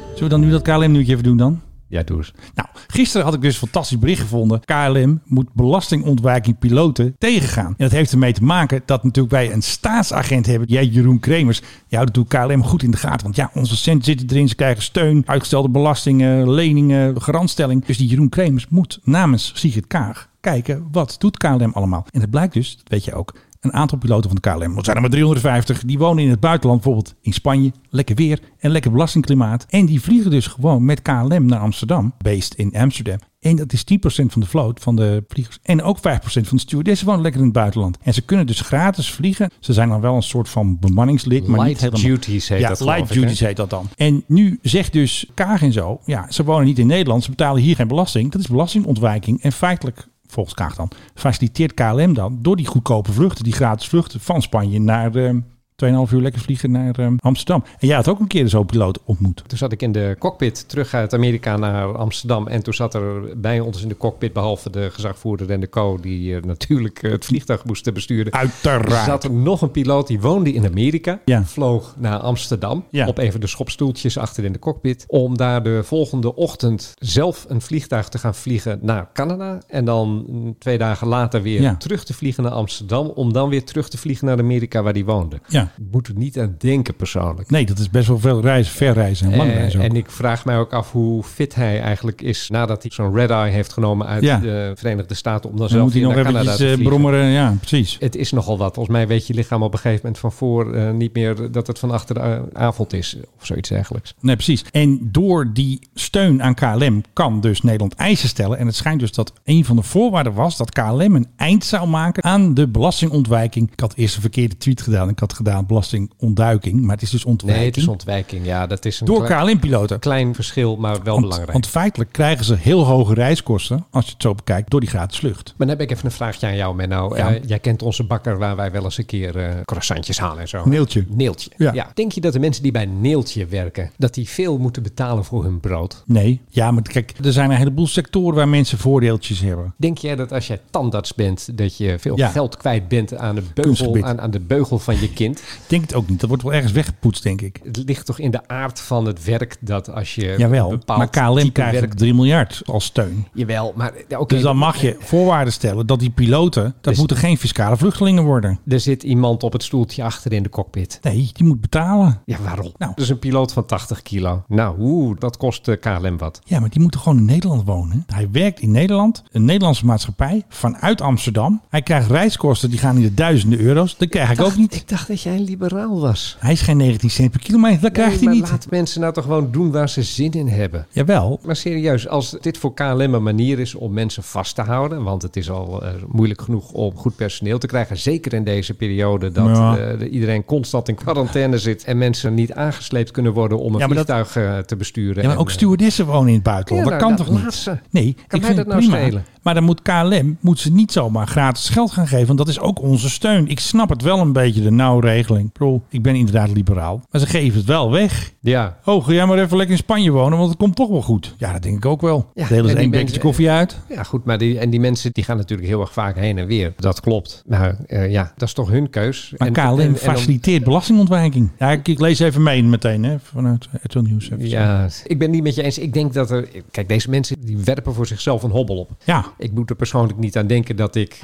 [SPEAKER 4] Zullen we dan nu dat KLM-nieuwtje even doen dan?
[SPEAKER 5] Ja, doe eens.
[SPEAKER 4] Nou, gisteren had ik dus een fantastisch bericht gevonden. KLM moet belastingontwijking piloten tegengaan. En dat heeft ermee te maken dat natuurlijk wij een staatsagent hebben. Jij, Jeroen Kremers, die houdt natuurlijk KLM goed in de gaten. Want ja, onze centen zitten erin. Ze krijgen steun, uitgestelde belastingen, leningen, garantstelling. Dus die Jeroen Kremers moet namens Sigrid Kaag kijken wat doet KLM allemaal. En het blijkt dus, dat weet je ook, een aantal piloten van de KLM, want het zijn er maar 350, die wonen in het buitenland, bijvoorbeeld in Spanje, lekker weer en lekker belastingklimaat. En die vliegen dus gewoon met KLM naar Amsterdam, based in Amsterdam. En dat is 10% van de vloot van de vliegers. En ook 5% van de stewardessen wonen lekker in het buitenland. En ze kunnen dus gratis vliegen. Ze zijn dan wel een soort van bemanningslid. Maar niet
[SPEAKER 5] Light
[SPEAKER 4] helemaal
[SPEAKER 5] duties heet
[SPEAKER 4] ja,
[SPEAKER 5] dat geloof
[SPEAKER 4] light
[SPEAKER 5] ik, hè?
[SPEAKER 4] duties heet dat dan. En nu zegt dus Kaag en zo, ja, ze wonen niet in Nederland, ze betalen hier geen belasting. Dat is belastingontwijking en feitelijk, volgens Kaag dan, faciliteert KLM dan door die goedkope vluchten, die gratis vluchten van Spanje naar ehm 2,5 uur lekker vliegen naar ehm, Amsterdam. En jij had ook een keer zo'n piloot ontmoet.
[SPEAKER 5] Toen zat ik in de cockpit terug uit Amerika naar Amsterdam. En toen zat er bij ons in de cockpit, behalve de gezagvoerder en de co... die eh, natuurlijk eh, het vliegtuig moesten besturen.
[SPEAKER 4] Uiteraard.
[SPEAKER 5] zat er nog een piloot die woonde in Amerika.
[SPEAKER 4] Ja.
[SPEAKER 5] Vloog naar Amsterdam
[SPEAKER 4] Ja.
[SPEAKER 5] op een van de schopstoeltjes achter in de cockpit. Om daar de volgende ochtend zelf een vliegtuig te gaan vliegen naar Canada. En dan mm, twee dagen later weer
[SPEAKER 4] Ja.
[SPEAKER 5] terug te vliegen naar Amsterdam. Om dan weer terug te vliegen naar Amerika waar die woonde.
[SPEAKER 4] Ja.
[SPEAKER 5] Ik Moet er niet aan denken persoonlijk.
[SPEAKER 4] Nee, dat is best wel veel reizen, verreizen en lang
[SPEAKER 5] Eh,
[SPEAKER 4] reizen ook.
[SPEAKER 5] en ik vraag mij ook af hoe fit hij eigenlijk is nadat hij zo'n red-eye heeft genomen uit
[SPEAKER 4] Ja.
[SPEAKER 5] de Verenigde Staten om dan,
[SPEAKER 4] dan
[SPEAKER 5] zelf
[SPEAKER 4] moet hij
[SPEAKER 5] weer
[SPEAKER 4] nog
[SPEAKER 5] naar Canada
[SPEAKER 4] eventjes
[SPEAKER 5] te
[SPEAKER 4] eh,
[SPEAKER 5] vliegen.
[SPEAKER 4] brommeren. Ja, precies.
[SPEAKER 5] Het is nogal wat. Volgens mij weet je lichaam op een gegeven moment van voor eh, niet meer dat het van achter de eh, avond is of zoiets dergelijks.
[SPEAKER 4] Nee, precies. En door die steun aan KLM kan dus Nederland eisen stellen. En het schijnt dus dat een van de voorwaarden was dat KLM een eind zou maken aan de belastingontwijking. Ik had eerst een verkeerde tweet gedaan. Ik had gedaan bijna belastingontduiking, maar het is dus ontwijking.
[SPEAKER 5] Nee, het is ontwijking. Ja, dat is een
[SPEAKER 4] Door
[SPEAKER 5] klein-
[SPEAKER 4] KLM-piloten.
[SPEAKER 5] Klein verschil, maar wel belangrijk.
[SPEAKER 4] Want feitelijk krijgen ze heel hoge reiskosten, als je het zo bekijkt, door die gratis vlucht.
[SPEAKER 5] maar dan heb ik even een vraagje aan jou, Menno.
[SPEAKER 4] Ja.
[SPEAKER 5] Eh, jij kent onze bakker waar wij wel eens een keer eh croissantjes halen en zo.
[SPEAKER 4] Neeltje.
[SPEAKER 5] Neeltje. Ja.
[SPEAKER 4] Ja.
[SPEAKER 5] Denk je dat de mensen die bij Neeltje werken, dat die veel moeten betalen voor hun brood?
[SPEAKER 4] Nee, ja, maar kijk, er zijn een heleboel sectoren waar mensen voordeeltjes hebben.
[SPEAKER 5] Denk jij dat als jij tandarts bent, dat je veel
[SPEAKER 4] Ja.
[SPEAKER 5] geld kwijt bent aan de, beugel,
[SPEAKER 4] Kunstgebied.
[SPEAKER 5] aan, aan de beugel van je kind?
[SPEAKER 4] Ik denk het ook niet. Dat wordt wel ergens weggepoetst, denk ik.
[SPEAKER 5] Het ligt toch in de aard van het werk dat als je
[SPEAKER 4] Jawel,
[SPEAKER 5] bepaalt
[SPEAKER 4] maar KLM
[SPEAKER 5] type
[SPEAKER 4] krijgt
[SPEAKER 5] werk...
[SPEAKER 4] 3 miljard als steun.
[SPEAKER 5] Jawel, maar ja, oké.
[SPEAKER 4] Dus dan mag je voorwaarden stellen dat die piloten, dat
[SPEAKER 5] Dus-
[SPEAKER 4] moeten geen fiscale vluchtelingen worden.
[SPEAKER 5] Er zit iemand op het stoeltje achter in de cockpit.
[SPEAKER 4] Nee, die moet betalen.
[SPEAKER 5] Ja, waarom? Nou, dus een piloot van 80 kilo. Nou, oeh, dat kost eh, KLM wat.
[SPEAKER 4] Ja, maar die moeten gewoon in Nederland wonen. Hij werkt in Nederland, een Nederlandse maatschappij, vanuit Amsterdam. Hij krijgt reiskosten, die gaan in de duizenden euro's. Dat krijg ik, ook niet.
[SPEAKER 5] Ik dacht dat jij een liberaal was.
[SPEAKER 4] Hij is geen 19 cent per kilometer, dat krijgt hij
[SPEAKER 5] maar
[SPEAKER 4] niet.
[SPEAKER 5] laat mensen nou toch gewoon doen waar ze zin in hebben.
[SPEAKER 4] Jawel,
[SPEAKER 5] Maar serieus, als dit voor KLM een manier is om mensen vast te houden, want het is al eh, moeilijk genoeg om goed personeel te krijgen, zeker in deze periode dat
[SPEAKER 4] Ja.
[SPEAKER 5] eh, iedereen constant in quarantaine zit en mensen niet aangesleept kunnen worden om een
[SPEAKER 4] Ja, maar dat-
[SPEAKER 5] vliegtuig eh, te besturen.
[SPEAKER 4] Ja, maar
[SPEAKER 5] en,
[SPEAKER 4] ook
[SPEAKER 5] eh,
[SPEAKER 4] stewardessen wonen in het buitenland.
[SPEAKER 5] Ja,
[SPEAKER 4] dat
[SPEAKER 5] nou,
[SPEAKER 4] kan
[SPEAKER 5] dat
[SPEAKER 4] toch
[SPEAKER 5] laat
[SPEAKER 4] niet?
[SPEAKER 5] ze.
[SPEAKER 4] Nee,
[SPEAKER 5] mij
[SPEAKER 4] ik vind
[SPEAKER 5] dat
[SPEAKER 4] het
[SPEAKER 5] nou
[SPEAKER 4] prima.
[SPEAKER 5] schelen?
[SPEAKER 4] Maar dan moet KLM moet ze niet zomaar gratis geld gaan geven. Want dat is ook onze steun. Ik snap het wel een beetje, de nauwregeling. Ik bedoel, ik ben inderdaad liberaal. Maar ze geven het wel weg.
[SPEAKER 5] eh, ja.
[SPEAKER 4] Oh, ga jij maar even lekker in Spanje wonen, want het komt toch wel goed. Ja, dat denk ik ook wel.
[SPEAKER 5] Ja,
[SPEAKER 4] Ja, Delen ze
[SPEAKER 5] en die
[SPEAKER 4] één
[SPEAKER 5] mensen-
[SPEAKER 4] bekertje koffie uit.
[SPEAKER 5] Ja, goed, maar die, en die mensen die gaan natuurlijk heel erg vaak heen en weer. Dat klopt. Maar eh, ja, dat is toch hun keus.
[SPEAKER 4] Maar
[SPEAKER 5] en,
[SPEAKER 4] KLM
[SPEAKER 5] en- en om-
[SPEAKER 4] faciliteert belastingontwijking. Ja, ik, ik lees even mee meteen hè, vanuit RTL Nieuws. even zo.
[SPEAKER 5] Ja, ik ben het niet met je eens. Ik denk dat er... Kijk, deze mensen die werpen voor zichzelf een hobbel op.
[SPEAKER 4] ja,
[SPEAKER 5] Ik moet er persoonlijk niet aan denken dat ik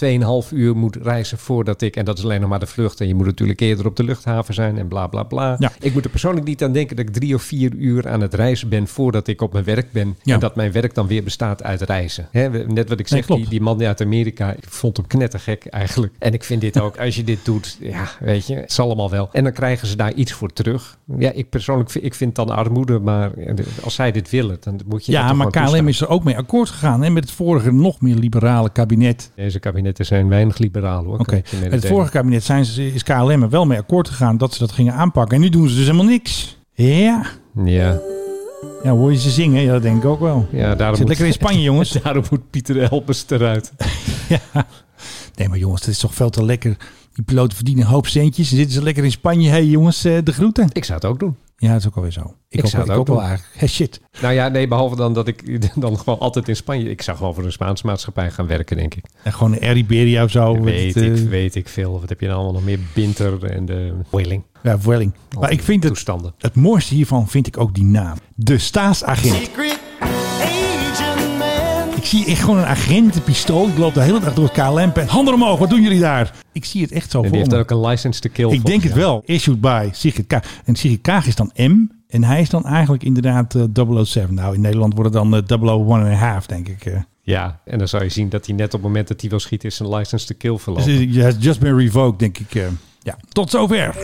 [SPEAKER 5] eh 2,5 uur moet reizen voordat ik... En dat is alleen nog maar de vlucht. En je moet natuurlijk eerder op de luchthaven zijn en bla, bla, bla.
[SPEAKER 4] Ja.
[SPEAKER 5] Ik moet er persoonlijk niet aan denken dat ik drie of vier uur aan het reizen ben... voordat ik op mijn werk ben.
[SPEAKER 4] Ja.
[SPEAKER 5] En dat mijn werk dan weer bestaat uit reizen. Hè, we- net wat ik
[SPEAKER 4] Nee,
[SPEAKER 5] zeg,
[SPEAKER 4] klopt.
[SPEAKER 5] die, die man uit Amerika, ik vond hem knettergek eigenlijk. En ik vind dit ook, als je dit doet, ja, weet je, het zal allemaal wel. En dan krijgen ze daar iets voor terug. Ja, ik persoonlijk vind, ik vind dan armoede, maar eh, als zij dit willen, dan moet je dat
[SPEAKER 4] ja
[SPEAKER 5] toch
[SPEAKER 4] maar
[SPEAKER 5] gewoon
[SPEAKER 4] KLM
[SPEAKER 5] toestaan.
[SPEAKER 4] is er ook mee akkoord gegaan. Hè, met het vorige nog meer liberale kabinet.
[SPEAKER 5] Deze kabinetten zijn weinig liberaal hoor.
[SPEAKER 4] Oké,
[SPEAKER 5] kan ik je
[SPEAKER 4] met het
[SPEAKER 5] mededelen.
[SPEAKER 4] vorige kabinet zijn ze, is KLM er wel mee akkoord gegaan dat ze dat gingen aanpakken. En nu doen ze dus helemaal niks. Ja,
[SPEAKER 5] Ja,
[SPEAKER 4] ja hoor je ze zingen? Ja, dat denk ik ook wel.
[SPEAKER 5] ja daarom,
[SPEAKER 4] Zit lekker in Spanje, jongens.
[SPEAKER 5] daarom moet Pieter Elbers eruit.
[SPEAKER 4] Nee, maar jongens, dat is toch veel te lekker. Die piloten verdienen een hoop centjes. Dan zitten ze lekker in Spanje. Hé hey, jongens, eh, de groeten.
[SPEAKER 5] Ik zou het ook doen.
[SPEAKER 4] Ja, dat is ook alweer zo. Ik, ook,
[SPEAKER 5] zou het
[SPEAKER 4] wel- ik
[SPEAKER 5] ook
[SPEAKER 4] ook wel
[SPEAKER 5] doen.
[SPEAKER 4] eigenlijk. Hé, shit.
[SPEAKER 5] Nou ja, nee, behalve dan dat ik dan gewoon altijd in Spanje... Ik zou gewoon voor een Spaanse maatschappij gaan werken, denk ik.
[SPEAKER 4] En gewoon een Air Iberia of zo.
[SPEAKER 5] weet,
[SPEAKER 4] met,
[SPEAKER 5] ik,
[SPEAKER 4] eh,
[SPEAKER 5] weet ik veel. Wat heb je nou allemaal nog meer? Binter en de Whaling.
[SPEAKER 4] Ja, Welling. Maar ik vind het,
[SPEAKER 5] Toestanden.
[SPEAKER 4] het mooiste hiervan vind ik ook die naam. De staatsagent. Ik zie echt gewoon een agentenpistool. Die loopt de hele dag door het KLM. -pand. Handen omhoog, wat doen jullie daar? Ik zie het echt zo voor
[SPEAKER 5] En die heeft
[SPEAKER 4] me.
[SPEAKER 5] dan ook een license to kill.
[SPEAKER 4] Ik
[SPEAKER 5] volgens
[SPEAKER 4] denk het
[SPEAKER 5] jou.
[SPEAKER 4] wel. Issued by Sigrid Kaag. En Sigrid Kaag is dan M. En hij is dan eigenlijk inderdaad eh, 007. Nou, in Nederland wordt het dan eh, 001 en een half, denk ik. eh.
[SPEAKER 5] Ja, en dan zou je zien dat hij net op het moment dat hij wil schieten... is zijn license to kill
[SPEAKER 4] Dus
[SPEAKER 5] verlopen.
[SPEAKER 4] it has just been revoked, denk ik. eh. ja, tot zover.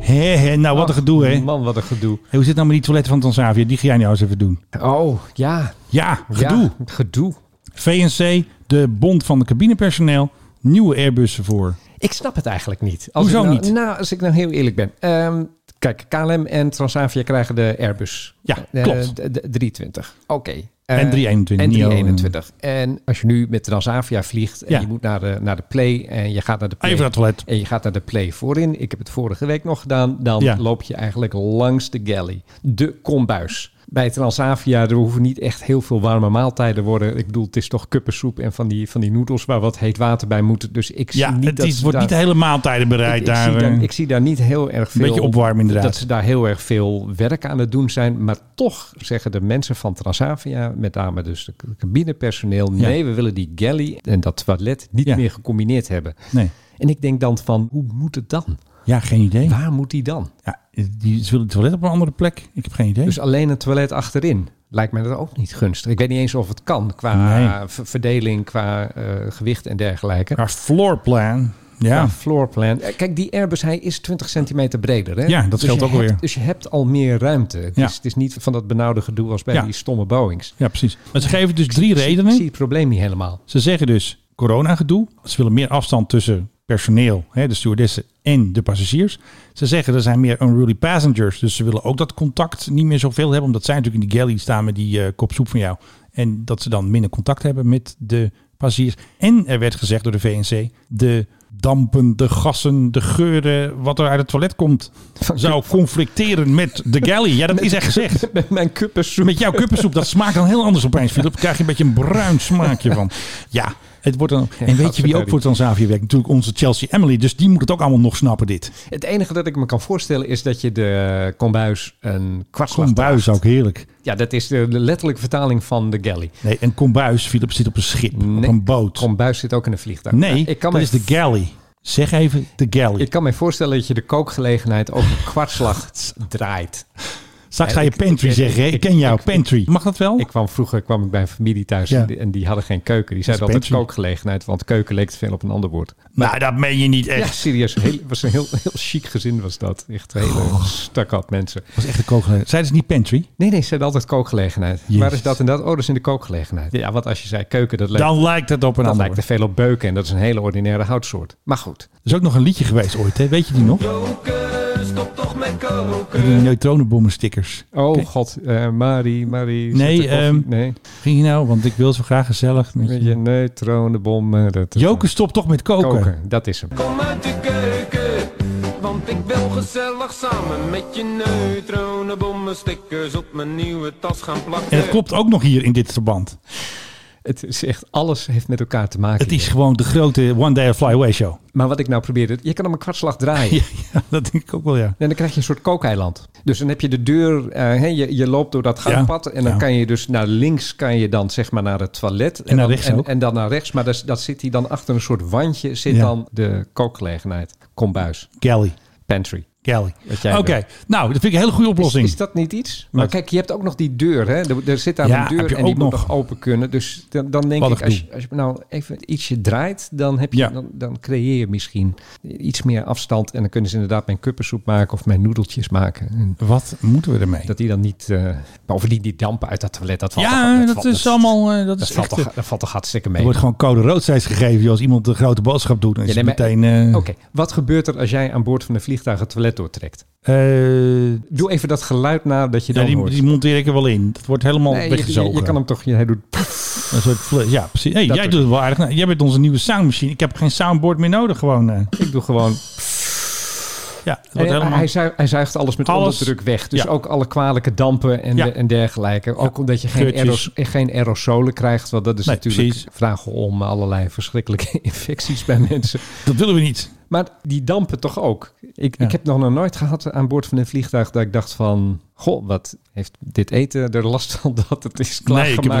[SPEAKER 4] Hé, hé, nou wat een gedoe, hè. Hé,
[SPEAKER 5] Man, wat een gedoe.
[SPEAKER 4] hoe zit het nou met die toiletten van Transavia? Die ga jij nou eens even doen.
[SPEAKER 5] Oh, ja.
[SPEAKER 4] Ja,
[SPEAKER 5] ja,
[SPEAKER 4] gedoe.
[SPEAKER 5] gedoe.
[SPEAKER 4] VNC, de bond van de cabinepersoneel. Nieuwe Airbussen voor.
[SPEAKER 5] Ik snap het eigenlijk niet. Als
[SPEAKER 4] Hoezo
[SPEAKER 5] ik nou,
[SPEAKER 4] niet?
[SPEAKER 5] Nou, als ik nou heel eerlijk ben. Ehm, kijk, KLM en Transavia krijgen de Airbus.
[SPEAKER 4] Ja,
[SPEAKER 5] Eh,
[SPEAKER 4] klopt.
[SPEAKER 5] de- de 320. Oké. Eh,
[SPEAKER 4] En 321,
[SPEAKER 5] En
[SPEAKER 4] niet al-
[SPEAKER 5] 321. En als je nu met Transavia vliegt en
[SPEAKER 4] Ja.
[SPEAKER 5] je moet naar de, naar de play en je gaat naar de play.
[SPEAKER 4] Even naar het toilet.
[SPEAKER 5] En je gaat naar de play voorin. Ik heb het vorige week nog gedaan. Dan
[SPEAKER 4] Ja.
[SPEAKER 5] loop je eigenlijk langs de galley. De kombuis. Bij Transavia er hoeven niet echt heel veel warme maaltijden worden. Ik bedoel, het is toch kuppensoep en van die, van die noedels waar wat heet water bij moet. Dus ik
[SPEAKER 4] Ja,
[SPEAKER 5] zie niet
[SPEAKER 4] het
[SPEAKER 5] dat
[SPEAKER 4] is,
[SPEAKER 5] ze
[SPEAKER 4] wordt
[SPEAKER 5] daar-
[SPEAKER 4] niet de hele maaltijden bereid
[SPEAKER 5] ik, ik
[SPEAKER 4] daar.
[SPEAKER 5] zie
[SPEAKER 4] eh.
[SPEAKER 5] daar, ik zie daar niet heel erg veel...
[SPEAKER 4] beetje opwarmen inderdaad.
[SPEAKER 5] Dat ze daar heel erg veel werk aan het doen zijn. Maar toch zeggen de mensen van Transavia, met name dus de cabinepersoneel...
[SPEAKER 4] Ja.
[SPEAKER 5] nee, we willen die galley en dat toilet niet
[SPEAKER 4] Ja.
[SPEAKER 5] meer gecombineerd hebben.
[SPEAKER 4] Nee.
[SPEAKER 5] En ik denk dan van, hoe moet het dan?
[SPEAKER 4] Ja, geen idee.
[SPEAKER 5] Waar moet die dan?
[SPEAKER 4] Ja, die, ze willen het toilet op een andere plek. Ik heb geen idee.
[SPEAKER 5] Dus alleen een toilet achterin lijkt mij dat ook niet gunstig. Ik weet niet eens of het kan qua
[SPEAKER 4] Nee.
[SPEAKER 5] ver- verdeling, qua eh, gewicht en dergelijke.
[SPEAKER 4] Maar floorplan.
[SPEAKER 5] Ja.
[SPEAKER 4] Ja.
[SPEAKER 5] floorplan. Eh, Kijk, die Airbus, hij is 20 centimeter breder. Hè?
[SPEAKER 4] Ja, dat scheelt
[SPEAKER 5] je
[SPEAKER 4] ook
[SPEAKER 5] hebt-
[SPEAKER 4] weer.
[SPEAKER 5] Dus je hebt al meer ruimte. Het,
[SPEAKER 4] Ja.
[SPEAKER 5] is, het is niet van dat benauwde gedoe als bij
[SPEAKER 4] Ja.
[SPEAKER 5] die stomme Boeings.
[SPEAKER 4] ja, precies. Maar ze geven dus drie
[SPEAKER 5] Ik zie- Ik zie
[SPEAKER 4] redenen.
[SPEAKER 5] het probleem niet helemaal.
[SPEAKER 4] Ze zeggen dus corona gedoe. Ze willen meer afstand tussen personeel, hè, de stewardessen en de passagiers. Ze zeggen er zijn meer unruly passengers, dus ze willen ook dat contact niet meer zoveel hebben, omdat zij natuurlijk in die galley staan met die eh, kop soep van jou. En dat ze dan minder contact hebben met de passagiers. En er werd gezegd door de VNC, de dampen, de gassen, de geuren, wat er uit het toilet komt, zou conflicteren met de galley. Ja, dat is echt gezegd.
[SPEAKER 5] Met mijn kuppensoep.
[SPEAKER 4] Met jouw kuppensoep. Dat smaakt dan heel anders opeens, Philip. krijg je een beetje een bruin smaakje van. Ja, het wordt dan... En weet je wie ook voor Transavia werkt? Natuurlijk onze Chelsea Emily. Dus die moet het ook allemaal nog snappen, dit.
[SPEAKER 5] Het enige dat ik me kan voorstellen is dat je de kombuis een kwartslag
[SPEAKER 4] Kombuis ook heerlijk.
[SPEAKER 5] Ja, dat is de de letterlijke vertaling van de galley.
[SPEAKER 4] Nee, een kombuis, Philip, zit op een schip, op
[SPEAKER 5] Nee,
[SPEAKER 4] een boot.
[SPEAKER 5] Kombuis zit ook in een vliegtuig.
[SPEAKER 4] Nee,
[SPEAKER 5] Nou, ik kan
[SPEAKER 4] dat
[SPEAKER 5] me-
[SPEAKER 4] is de galley. Zeg even de galley.
[SPEAKER 5] Ik kan me voorstellen dat je de kookgelegenheid ook een kwartslag draait.
[SPEAKER 4] Straks ga
[SPEAKER 5] En
[SPEAKER 4] je
[SPEAKER 5] ik-
[SPEAKER 4] pantry
[SPEAKER 5] ik-
[SPEAKER 4] zeggen. hè? Ik ken jou, pantry. Mag dat wel?
[SPEAKER 5] Ik kwam vroeger kwam ik bij een familie thuis
[SPEAKER 4] Oh. Ja.
[SPEAKER 5] en, die, en die hadden geen keuken. Die zeiden
[SPEAKER 4] Dat is
[SPEAKER 5] altijd kookgelegenheid, want keuken leek te veel op een ander woord.
[SPEAKER 4] Nou, dat meen je niet
[SPEAKER 5] Ja,
[SPEAKER 4] echt.
[SPEAKER 5] serieus. Heel, was een heel, heel chic gezin was dat. Echt een
[SPEAKER 4] Oh.
[SPEAKER 5] hele stakkat mensen.
[SPEAKER 4] Dat was echt een kookgelegenheid. Zeiden ze niet pantry?
[SPEAKER 5] Nee, nee, ze hadden altijd kookgelegenheid.
[SPEAKER 4] Jezus.
[SPEAKER 5] Waar is dat en dat? Oh, dat is in de kookgelegenheid. Ja, want als je zei keuken, dat lijkt,
[SPEAKER 4] Dan lijkt het op een
[SPEAKER 5] dat
[SPEAKER 4] ander.
[SPEAKER 5] lijkt er veel op beuken. En dat is een hele ordinaire houtsoort. Maar goed.
[SPEAKER 4] Er is ook nog een liedje geweest ooit, hè? weet je die nog? Die neutronenbommenstickers.
[SPEAKER 5] Oh
[SPEAKER 4] Oké.
[SPEAKER 5] god, eh, Marie, Marie.
[SPEAKER 4] Nee,
[SPEAKER 5] zit er koffie?
[SPEAKER 4] ehm,
[SPEAKER 5] nee.
[SPEAKER 4] Ging je nou, want ik wil zo graag gezellig met je.
[SPEAKER 5] Met je neutronenbom. eh, Dat,
[SPEAKER 4] Joke, stop toch met koken.
[SPEAKER 5] koken, dat is hem.
[SPEAKER 13] Kom uit de keuken, want ik wil gezellig samen met je neutronenbommen stickers op mijn nieuwe tas gaan plakken.
[SPEAKER 4] En het klopt ook nog hier in dit verband.
[SPEAKER 5] Het is echt, alles heeft met elkaar te maken.
[SPEAKER 4] Het is gewoon de grote One Day of Fly Away show.
[SPEAKER 5] Maar wat ik nou probeerde, je kan hem een kwartslag draaien.
[SPEAKER 4] Ja, ja, dat denk ik ook wel, ja.
[SPEAKER 5] En dan krijg je een soort kookeiland. Dus dan heb je de deur, eh, hè, je, je loopt door dat gangpad. en dan
[SPEAKER 4] ja.
[SPEAKER 5] kan je dus naar links, kan je dan zeg maar naar het toilet. En,
[SPEAKER 4] naar
[SPEAKER 5] dan,
[SPEAKER 4] rechts
[SPEAKER 5] en,
[SPEAKER 4] ook.
[SPEAKER 5] en dan naar rechts. Maar dat, dat zit hij dan achter een soort wandje, zit
[SPEAKER 4] Ja.
[SPEAKER 5] dan de kookgelegenheid. Kombuis,
[SPEAKER 4] Galley.
[SPEAKER 5] pantry.
[SPEAKER 4] Galley.
[SPEAKER 5] wat jij
[SPEAKER 4] Oké,
[SPEAKER 5] wil.
[SPEAKER 4] nou, dat vind ik een hele goede
[SPEAKER 5] Is,
[SPEAKER 4] oplossing.
[SPEAKER 5] is dat niet iets? Maar
[SPEAKER 4] Wat?
[SPEAKER 5] kijk, je hebt ook nog die deur. Hè? Er, er zit daar
[SPEAKER 4] Ja,
[SPEAKER 5] een
[SPEAKER 4] heb
[SPEAKER 5] deur
[SPEAKER 4] je
[SPEAKER 5] en die
[SPEAKER 4] ook
[SPEAKER 5] moet
[SPEAKER 4] nog.
[SPEAKER 5] nog open kunnen. Dus dan, dan denk
[SPEAKER 4] Wat
[SPEAKER 5] ik,
[SPEAKER 4] een
[SPEAKER 5] als
[SPEAKER 4] gedoe.
[SPEAKER 5] je, als je nou even ietsje draait, dan, heb je,
[SPEAKER 4] Ja.
[SPEAKER 5] dan, dan creëer je misschien iets meer afstand. En dan kunnen ze inderdaad mijn kuppensoep maken of mijn noedeltjes maken. En
[SPEAKER 4] Wat moeten we ermee?
[SPEAKER 5] dat die dan niet... eh bovendien die dampen uit dat toilet, dat valt toch-
[SPEAKER 4] ja, dat,
[SPEAKER 5] valt-
[SPEAKER 4] is allemaal... eh, dat,
[SPEAKER 5] Dat
[SPEAKER 4] is
[SPEAKER 5] valt,
[SPEAKER 4] echt, eh,
[SPEAKER 5] toch, dat valt toch hartstikke
[SPEAKER 4] er
[SPEAKER 5] mee.
[SPEAKER 4] wordt gewoon code roodstijds gegeven joh, als iemand de grote boodschap doet. Dan is
[SPEAKER 5] Ja, nee,
[SPEAKER 4] het
[SPEAKER 5] maar-
[SPEAKER 4] meteen... eh,
[SPEAKER 5] Oké, wat gebeurt er als jij aan boord van een vliegtuig het toilet doortrekt?
[SPEAKER 4] eh,
[SPEAKER 5] Doe even dat geluid na dat je
[SPEAKER 4] ja,
[SPEAKER 5] dan
[SPEAKER 4] die,
[SPEAKER 5] hoort.
[SPEAKER 4] die monteer ik er wel in. Dat wordt helemaal
[SPEAKER 5] Nee, je- je,
[SPEAKER 4] weggezogen.
[SPEAKER 5] je kan hem toch... Je, hij doet...
[SPEAKER 4] Een soort fle- ja, precies. Hey,
[SPEAKER 5] Dat
[SPEAKER 4] jij
[SPEAKER 5] doe
[SPEAKER 4] doet het wel aardig. Nou, jij bent onze nieuwe soundmachine. Ik heb geen soundboard meer nodig. Gewoon, eh.
[SPEAKER 5] Ik doe gewoon...
[SPEAKER 4] ja, het wordt
[SPEAKER 5] En
[SPEAKER 4] helemaal...
[SPEAKER 5] hij, zuigt, hij zuigt alles met
[SPEAKER 4] Alles.
[SPEAKER 5] onderdruk weg. Dus
[SPEAKER 4] Ja.
[SPEAKER 5] ook alle kwalijke dampen en,
[SPEAKER 4] Ja.
[SPEAKER 5] de- en dergelijke. Ook omdat je geen,
[SPEAKER 4] Geurtjes.
[SPEAKER 5] aeros, geen aerosolen krijgt. Want dat is
[SPEAKER 4] Nee,
[SPEAKER 5] natuurlijk
[SPEAKER 4] precies.
[SPEAKER 5] vragen om allerlei verschrikkelijke infecties bij mensen.
[SPEAKER 4] Dat willen we niet.
[SPEAKER 5] Maar die dampen toch ook. Ik,
[SPEAKER 4] Ja.
[SPEAKER 5] ik heb nog nooit gehad aan boord van een vliegtuig dat ik dacht van... Goh, wat heeft dit eten er last van dat het is
[SPEAKER 4] Nee, ik
[SPEAKER 5] klaargemaakt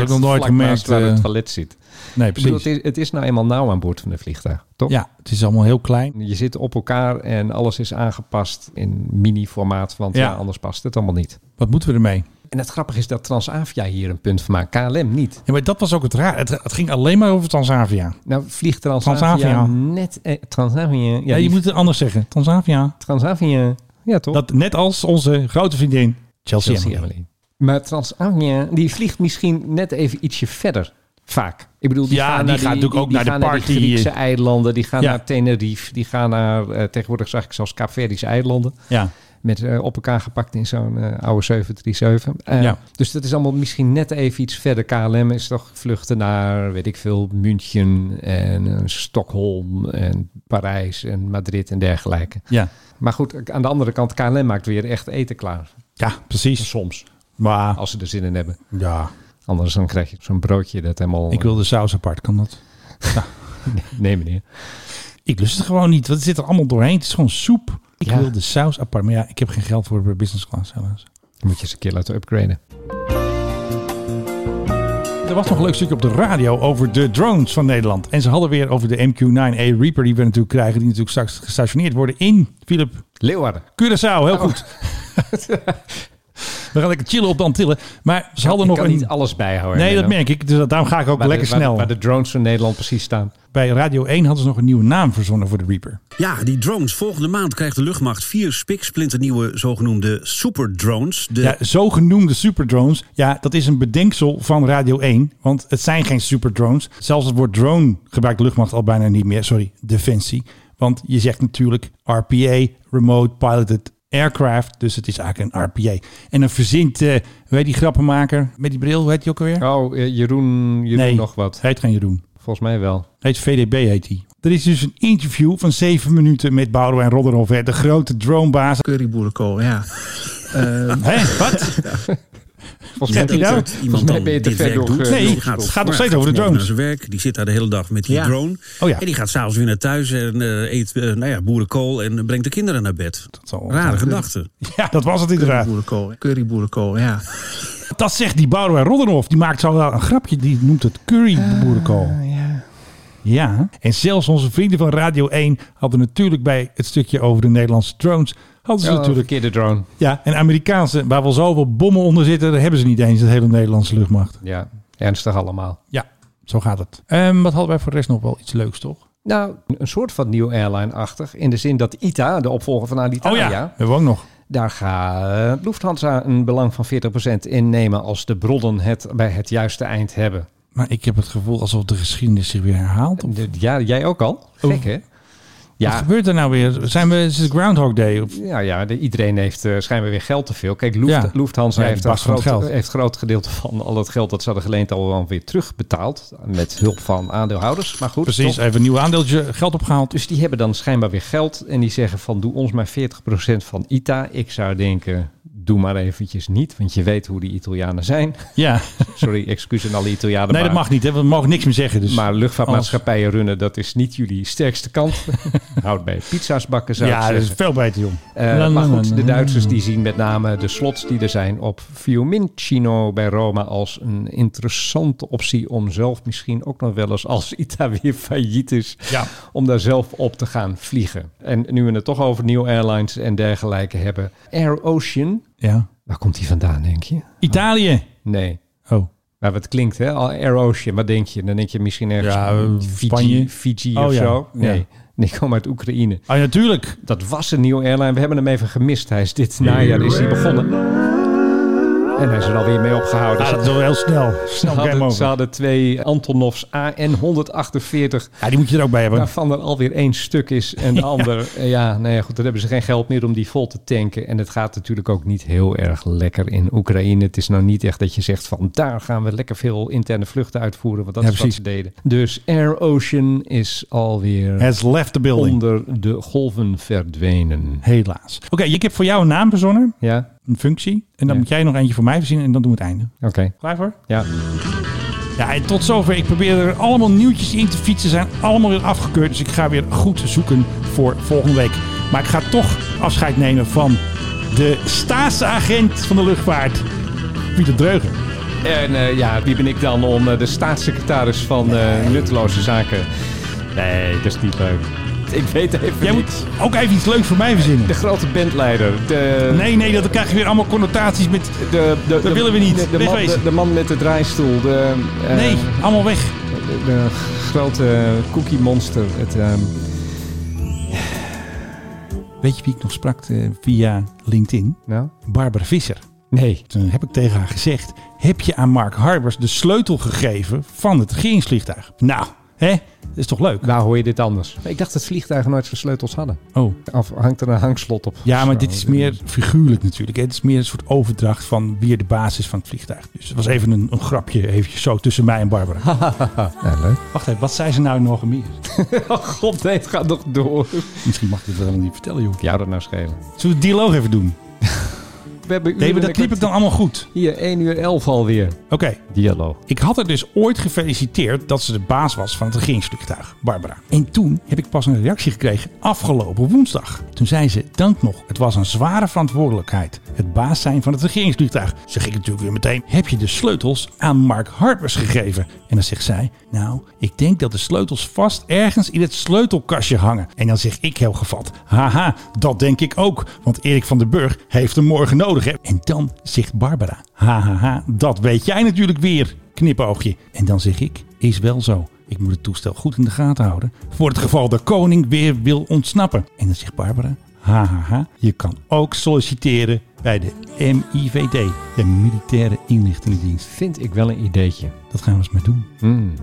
[SPEAKER 4] heb het ook nog nooit
[SPEAKER 5] vlak naast
[SPEAKER 4] gemerkt,
[SPEAKER 5] waar
[SPEAKER 4] eh,
[SPEAKER 5] het toilet zit. Ik
[SPEAKER 4] Nee,
[SPEAKER 5] bedoel, het,
[SPEAKER 4] precies.
[SPEAKER 5] is, het is nou eenmaal nauw aan boord van een vliegtuig, toch?
[SPEAKER 4] Ja, het is allemaal heel klein.
[SPEAKER 5] Je zit op elkaar en alles is aangepast in mini-formaat, want
[SPEAKER 4] Ja.
[SPEAKER 5] ja. anders past het allemaal niet.
[SPEAKER 4] Wat moeten we ermee?
[SPEAKER 5] En het grappige is dat Transavia hier een punt van maakt, KLM niet.
[SPEAKER 4] Ja, maar dat was ook het raar. Het, het ging alleen maar over Transavia.
[SPEAKER 5] Nou vliegt Transavia,
[SPEAKER 4] Transavia.
[SPEAKER 5] net... Eh, Transavia, ja,
[SPEAKER 4] nee, je
[SPEAKER 5] die-
[SPEAKER 4] moet het anders zeggen. Transavia.
[SPEAKER 5] Transavia, ja toch?
[SPEAKER 4] Dat, net als onze grote vriendin Chelsea,
[SPEAKER 5] Chelsea
[SPEAKER 4] Emily.
[SPEAKER 5] Emily. Maar Transavia, die vliegt misschien net even ietsje verder. Vaak. Ik bedoel, die
[SPEAKER 4] Ja,
[SPEAKER 5] gaan
[SPEAKER 4] die
[SPEAKER 5] naar
[SPEAKER 4] gaat natuurlijk ook
[SPEAKER 5] die
[SPEAKER 4] naar de
[SPEAKER 5] gaan
[SPEAKER 4] party.
[SPEAKER 5] die Griekse eilanden, die gaan
[SPEAKER 4] Ja.
[SPEAKER 5] naar Tenerife, die gaan naar, eh, tegenwoordig zag ik zelfs Caverdische eilanden.
[SPEAKER 4] Ja.
[SPEAKER 5] Met eh, op elkaar gepakt in zo'n eh, oude 737. Eh,
[SPEAKER 4] Ja.
[SPEAKER 5] Dus dat is allemaal misschien net even iets verder. KLM is toch vluchten naar, weet ik veel, München en eh, Stockholm en Parijs en Madrid en dergelijke.
[SPEAKER 4] Ja.
[SPEAKER 5] Maar goed, eh, aan de andere kant, KLM maakt weer echt eten klaar.
[SPEAKER 4] ja, precies.
[SPEAKER 5] Soms,
[SPEAKER 4] Maar
[SPEAKER 5] als ze er zin in hebben.
[SPEAKER 4] ja,
[SPEAKER 5] Anders dan krijg je zo'n broodje dat helemaal...
[SPEAKER 4] ik wil de saus apart. Kan dat?
[SPEAKER 5] Nee, meneer.
[SPEAKER 4] Ik lust het gewoon niet. Want het zit er allemaal doorheen. Het is gewoon soep. Ik
[SPEAKER 5] Ja.
[SPEAKER 4] wil de saus apart. Maar ja, ik heb geen geld voor business class helaas.
[SPEAKER 5] Moet je eens een keer laten upgraden.
[SPEAKER 4] Er was nog een leuk stukje op de radio over de drones van Nederland. En ze hadden weer over de MQ-9A Reaper die we natuurlijk krijgen. Die natuurlijk straks gestationeerd worden in, Philip,
[SPEAKER 5] Leeuwarden.
[SPEAKER 4] Curaçao.
[SPEAKER 5] Oh.
[SPEAKER 4] Heel goed. we gaan lekker chillen op de Antillen. Maar ze hadden
[SPEAKER 5] ik
[SPEAKER 4] nog
[SPEAKER 5] kan
[SPEAKER 4] een...
[SPEAKER 5] niet alles bijhouden.
[SPEAKER 4] nee, dat
[SPEAKER 5] Menno.
[SPEAKER 4] merk ik. Dus dat- daarom ga ik ook
[SPEAKER 5] Waar de-
[SPEAKER 4] lekker
[SPEAKER 5] waar de-
[SPEAKER 4] snel.
[SPEAKER 5] Waar de drones van Nederland precies staan.
[SPEAKER 4] Bij Radio 1 hadden ze nog een nieuwe naam verzonnen voor de Reaper.
[SPEAKER 6] Ja, die drones. Volgende maand krijgt de luchtmacht vier spiksplinternieuwe zogenoemde superdrones. De...
[SPEAKER 4] Ja, zogenoemde superdrones. Ja, dat is een bedenksel van Radio 1. Want het zijn geen superdrones. Zelfs het woord drone gebruikt de luchtmacht al bijna niet meer. Sorry, defensie. Want je zegt natuurlijk RPA, Remote Piloted Aircraft. Dus het is eigenlijk een RPA. En een verzint, eh hoe heet die grappenmaker met die bril, hoe heet die ook alweer?
[SPEAKER 5] Oh, eh, Jeroen, Jeroen
[SPEAKER 4] nee,
[SPEAKER 5] nog wat.
[SPEAKER 4] Heet geen Jeroen.
[SPEAKER 5] Volgens mij wel.
[SPEAKER 4] Heet VDB heet hij. Er is dus een interview van zeven minuten met Boudewijn Rodderhofer, de grote dronebaas. Curryboerenkool, ja. Hé, wat? Zegt
[SPEAKER 6] Volgens mij
[SPEAKER 4] hij
[SPEAKER 6] denkt
[SPEAKER 4] nou?
[SPEAKER 6] dat iemand dan dit werk doet.
[SPEAKER 4] Nee, het gaat nog
[SPEAKER 6] Maar
[SPEAKER 4] steeds over
[SPEAKER 6] hij
[SPEAKER 4] de
[SPEAKER 6] gaat
[SPEAKER 4] drones.
[SPEAKER 6] naar zijn werk, die zit daar de hele dag met die
[SPEAKER 4] Ja.
[SPEAKER 6] drone.
[SPEAKER 4] Oh ja.
[SPEAKER 6] En die gaat s'avonds weer naar thuis en eh, eet eh, nou ja, boerenkool en brengt de kinderen naar bed. Rare gedachte.
[SPEAKER 4] Ja, dat was het inderdaad.
[SPEAKER 6] Curryboerenkool, ja.
[SPEAKER 4] Dat zegt die Boudewijn Rodderhof. Die maakt zo wel een grapje. Die noemt het curryboerenkool. Ah, ja. ja. En zelfs onze vrienden van Radio 1 hadden natuurlijk bij het stukje over de Nederlandse drones... hadden ze
[SPEAKER 5] Oh,
[SPEAKER 4] natuurlijk...
[SPEAKER 5] verkeerde drone.
[SPEAKER 4] Ja, en Amerikaanse, waar wel zoveel bommen onder zitten... daar hebben ze niet eens, de hele Nederlandse luchtmacht.
[SPEAKER 5] Ja, ernstig allemaal.
[SPEAKER 4] Ja, zo gaat het. Ehm, wat hadden wij voor de rest nog wel iets leuks, toch?
[SPEAKER 5] Nou, een soort van nieuw airline-achtig. In de zin dat ITA, de opvolger van Alitalia...
[SPEAKER 4] Oh ja, hebben we ook nog.
[SPEAKER 5] Daar gaat Lufthansa een belang van 40% innemen... als de bronnen het bij het juiste eind hebben.
[SPEAKER 4] Maar ik heb het gevoel alsof de geschiedenis zich weer herhaalt.
[SPEAKER 5] De- Ja, jij ook al. Gek, hè? Ja.
[SPEAKER 4] Wat gebeurt er nou weer? Zijn we, is het Groundhog Day? Of?
[SPEAKER 5] Ja, ja de- iedereen heeft eh, schijnbaar weer geld te veel. Kijk, Luft-
[SPEAKER 4] Ja.
[SPEAKER 5] Lufthansa
[SPEAKER 4] Ja, die
[SPEAKER 5] heeft, een
[SPEAKER 4] barst van het
[SPEAKER 5] groot,
[SPEAKER 4] geld.
[SPEAKER 5] heeft groot gedeelte van al het geld dat ze hadden geleend al wel weer terugbetaald. Met hulp van aandeelhouders. Maar goed,
[SPEAKER 4] Precies,
[SPEAKER 5] toch?
[SPEAKER 4] even een nieuw aandeeltje geld opgehaald.
[SPEAKER 5] Dus die hebben dan schijnbaar weer geld. En die zeggen van doe ons maar 40% van ITA. Ik zou denken, doe maar eventjes niet. Want je weet hoe die Italianen zijn.
[SPEAKER 4] Ja.
[SPEAKER 5] Sorry, excuus aan alle Italianen.
[SPEAKER 4] nee, dat
[SPEAKER 5] maar-
[SPEAKER 4] mag niet. Hè? We mogen niks meer zeggen. Dus.
[SPEAKER 5] Maar luchtvaartmaatschappijen runnen, dat is niet jullie sterkste kant. Houd bij pizza's bakken, zou ik
[SPEAKER 4] Ja, dat is
[SPEAKER 5] zeggen.
[SPEAKER 4] veel beter, jong.
[SPEAKER 5] Eh,
[SPEAKER 4] La, la,
[SPEAKER 5] maar
[SPEAKER 4] la, la,
[SPEAKER 5] goed, de
[SPEAKER 4] la.
[SPEAKER 5] Duitsers die zien met name de slots die er zijn op Fiumicino bij Roma als een interessante optie om zelf misschien ook nog wel eens als ITA weer failliet is,
[SPEAKER 4] Ja.
[SPEAKER 5] om daar zelf op te gaan vliegen. En nu we het toch over New Airlines en dergelijke hebben, Air Ocean,
[SPEAKER 4] Ja.
[SPEAKER 5] waar komt die vandaan denk je?
[SPEAKER 4] Italië.
[SPEAKER 5] Nee.
[SPEAKER 4] Oh.
[SPEAKER 5] Maar wat klinkt, hè? Al Air Ocean, wat denk je? Dan denk je misschien ergens
[SPEAKER 4] Ja, eh,
[SPEAKER 5] Fiji,
[SPEAKER 4] Spanje.
[SPEAKER 5] Fiji
[SPEAKER 4] Oh,
[SPEAKER 5] of
[SPEAKER 4] ja.
[SPEAKER 5] zo. Nee.
[SPEAKER 4] Ja.
[SPEAKER 5] Nee, ik kom uit Oekraïne.
[SPEAKER 4] Ah, natuurlijk.
[SPEAKER 5] Dat was een nieuwe airline. We hebben hem even gemist. Hij is dit najaar is hij begonnen. En hij is er alweer mee opgehouden.
[SPEAKER 4] Ah,
[SPEAKER 5] Ze-
[SPEAKER 4] dat is wel heel snel. Snel
[SPEAKER 5] ze,
[SPEAKER 4] game
[SPEAKER 5] hadden,
[SPEAKER 4] over.
[SPEAKER 5] ze hadden twee Antonovs AN-148.
[SPEAKER 4] Ja, die moet je er ook bij hebben.
[SPEAKER 5] Waarvan er alweer één stuk is en de ander... eh, Ja, nee, goed, daar hebben ze geen geld meer om die vol te tanken. En het gaat natuurlijk ook niet heel erg lekker in Oekraïne. Het is nou niet echt dat je zegt van... daar gaan we lekker veel interne vluchten uitvoeren. Want dat
[SPEAKER 4] Ja,
[SPEAKER 5] is
[SPEAKER 4] precies.
[SPEAKER 5] wat ze deden. Dus Air Ocean is alweer...
[SPEAKER 4] Has left the building.
[SPEAKER 5] Onder de golven verdwenen.
[SPEAKER 4] Helaas. Oké, ik heb voor jou een naam verzonnen.
[SPEAKER 5] Ja.
[SPEAKER 4] Een functie. En dan
[SPEAKER 5] Ja.
[SPEAKER 4] moet jij nog eentje voor mij verzinnen en dan doen we het einde.
[SPEAKER 5] Oké.
[SPEAKER 4] Klaar voor?
[SPEAKER 5] Ja.
[SPEAKER 4] Ja, en tot zover. Ik probeer er allemaal nieuwtjes in te fietsen. Zijn allemaal weer afgekeurd. Dus ik ga weer goed zoeken voor volgende week. Maar ik ga toch afscheid nemen van de staatsagent van de luchtvaart. Pieter Dreugen.
[SPEAKER 5] En eh, ja, wie ben ik dan om eh, de staatssecretaris van eh, Nutteloze Zaken? Nee, dat is niet leuk. Ik weet even
[SPEAKER 4] Jij
[SPEAKER 5] niet.
[SPEAKER 4] moet ook even iets leuks voor mij verzinnen.
[SPEAKER 5] De grote bandleider. De,
[SPEAKER 4] Nee, nee, dat krijg je weer allemaal connotaties met...
[SPEAKER 5] de, de,
[SPEAKER 4] Dat willen we niet.
[SPEAKER 5] De, de man,
[SPEAKER 4] Wegwezen.
[SPEAKER 5] de, de man met de draaistoel. De, eh,
[SPEAKER 4] Nee, allemaal weg.
[SPEAKER 5] De, de grote cookie monster. Het, ehm,
[SPEAKER 4] Weet je wie ik nog sprak eh, via LinkedIn?
[SPEAKER 5] Nou?
[SPEAKER 4] Barbara Visser.
[SPEAKER 5] Nee.
[SPEAKER 4] Toen heb ik tegen haar gezegd... heb je aan Mark Harbers de sleutel gegeven van het regeringsvliegtuig? Nou, hè? Dat is toch leuk?
[SPEAKER 5] waar hoor je dit anders? Ik dacht dat vliegtuigen nooit zijn sleutels hadden.
[SPEAKER 4] Oh.
[SPEAKER 5] Of hangt er een hangslot op?
[SPEAKER 4] Ja, maar
[SPEAKER 5] Zo.
[SPEAKER 4] dit is meer figuurlijk natuurlijk. hè. Het is meer een soort overdracht van wie er de basis van het vliegtuig. Dus het was even een, een grapje eventjes zo tussen mij en Barbara.
[SPEAKER 5] Ja, leuk.
[SPEAKER 4] Wacht even, wat zei ze nou nog meer?
[SPEAKER 5] Oh god, nee, het gaat nog door.
[SPEAKER 4] Misschien mag ik het wel helemaal niet vertellen, joh.
[SPEAKER 5] Ja, dat nou schelen.
[SPEAKER 4] Zullen we de dialoog even doen?
[SPEAKER 5] We hebben uren
[SPEAKER 4] Nee, maar
[SPEAKER 5] en
[SPEAKER 4] dat
[SPEAKER 5] een
[SPEAKER 4] kniep ik dan allemaal goed.
[SPEAKER 5] Hier, 1 uur 11 alweer.
[SPEAKER 4] Oké.
[SPEAKER 5] Dialoog.
[SPEAKER 4] Ik had haar dus ooit gefeliciteerd dat ze de baas was van het regeringsvliegtuig, Barbara. En toen heb ik pas een reactie gekregen afgelopen woensdag. Toen zei ze, dank nog, het was een zware verantwoordelijkheid. Het baas zijn van het regeringsvliegtuig. Zeg ik natuurlijk weer meteen, heb je de sleutels aan Mark Harpers gegeven? En dan zegt zij, nou, ik denk dat de sleutels vast ergens in het sleutelkastje hangen. En dan zeg ik heel gevat, haha, dat denk ik ook. Want Erik van den Burg heeft hem morgen nodig. Hè? En dan zegt Barbara, hahaha, dat weet jij natuurlijk weer knipoogje. En dan zeg ik, is wel zo. Ik moet het toestel goed in de gaten houden. Voor het geval de koning weer wil ontsnappen. En dan zegt Barbara, hahaha, je kan ook solliciteren bij de MIVD, de Militaire Inlichtingendienst.
[SPEAKER 5] Vind ik wel een ideetje. Hmm.
[SPEAKER 4] Dat gaan we eens maar doen.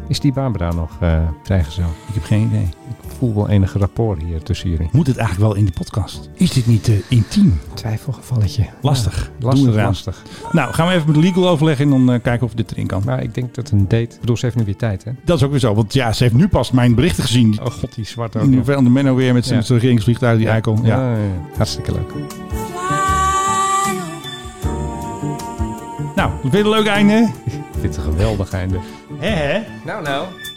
[SPEAKER 5] Is die Barbara nog eh vrijgezel?
[SPEAKER 4] Ik heb geen idee.
[SPEAKER 5] Ik voel wel enige rapport hier tussen jullie.
[SPEAKER 4] Moet het eigenlijk wel in de podcast? Is dit niet te intiem?
[SPEAKER 5] Twijfelgevalletje.
[SPEAKER 4] Lastig.
[SPEAKER 5] Ja, lastig,
[SPEAKER 4] Doen we eraan.
[SPEAKER 5] lastig.
[SPEAKER 4] Nou, gaan we even met de legal overleggen en dan eh, kijken of dit erin kan.
[SPEAKER 5] Maar ik denk dat een date... Ik bedoel, ze heeft nu weer tijd, hè?
[SPEAKER 4] Dat is ook weer zo, want ja, ze heeft nu pas mijn berichten gezien.
[SPEAKER 5] Oh god, die zwarte ook.
[SPEAKER 4] In
[SPEAKER 5] nog.
[SPEAKER 4] hoeverre de Menno weer met zijn
[SPEAKER 5] Ja.
[SPEAKER 4] zijn regeringsvliegtuig, die eikel. Ja.
[SPEAKER 5] Ja, ja, ja. Hartstikke leuk.
[SPEAKER 4] Nou, weer een leuk einde. Nou,
[SPEAKER 5] Dit is een geweldig einde.
[SPEAKER 4] Hè hè?
[SPEAKER 5] Nou, nou.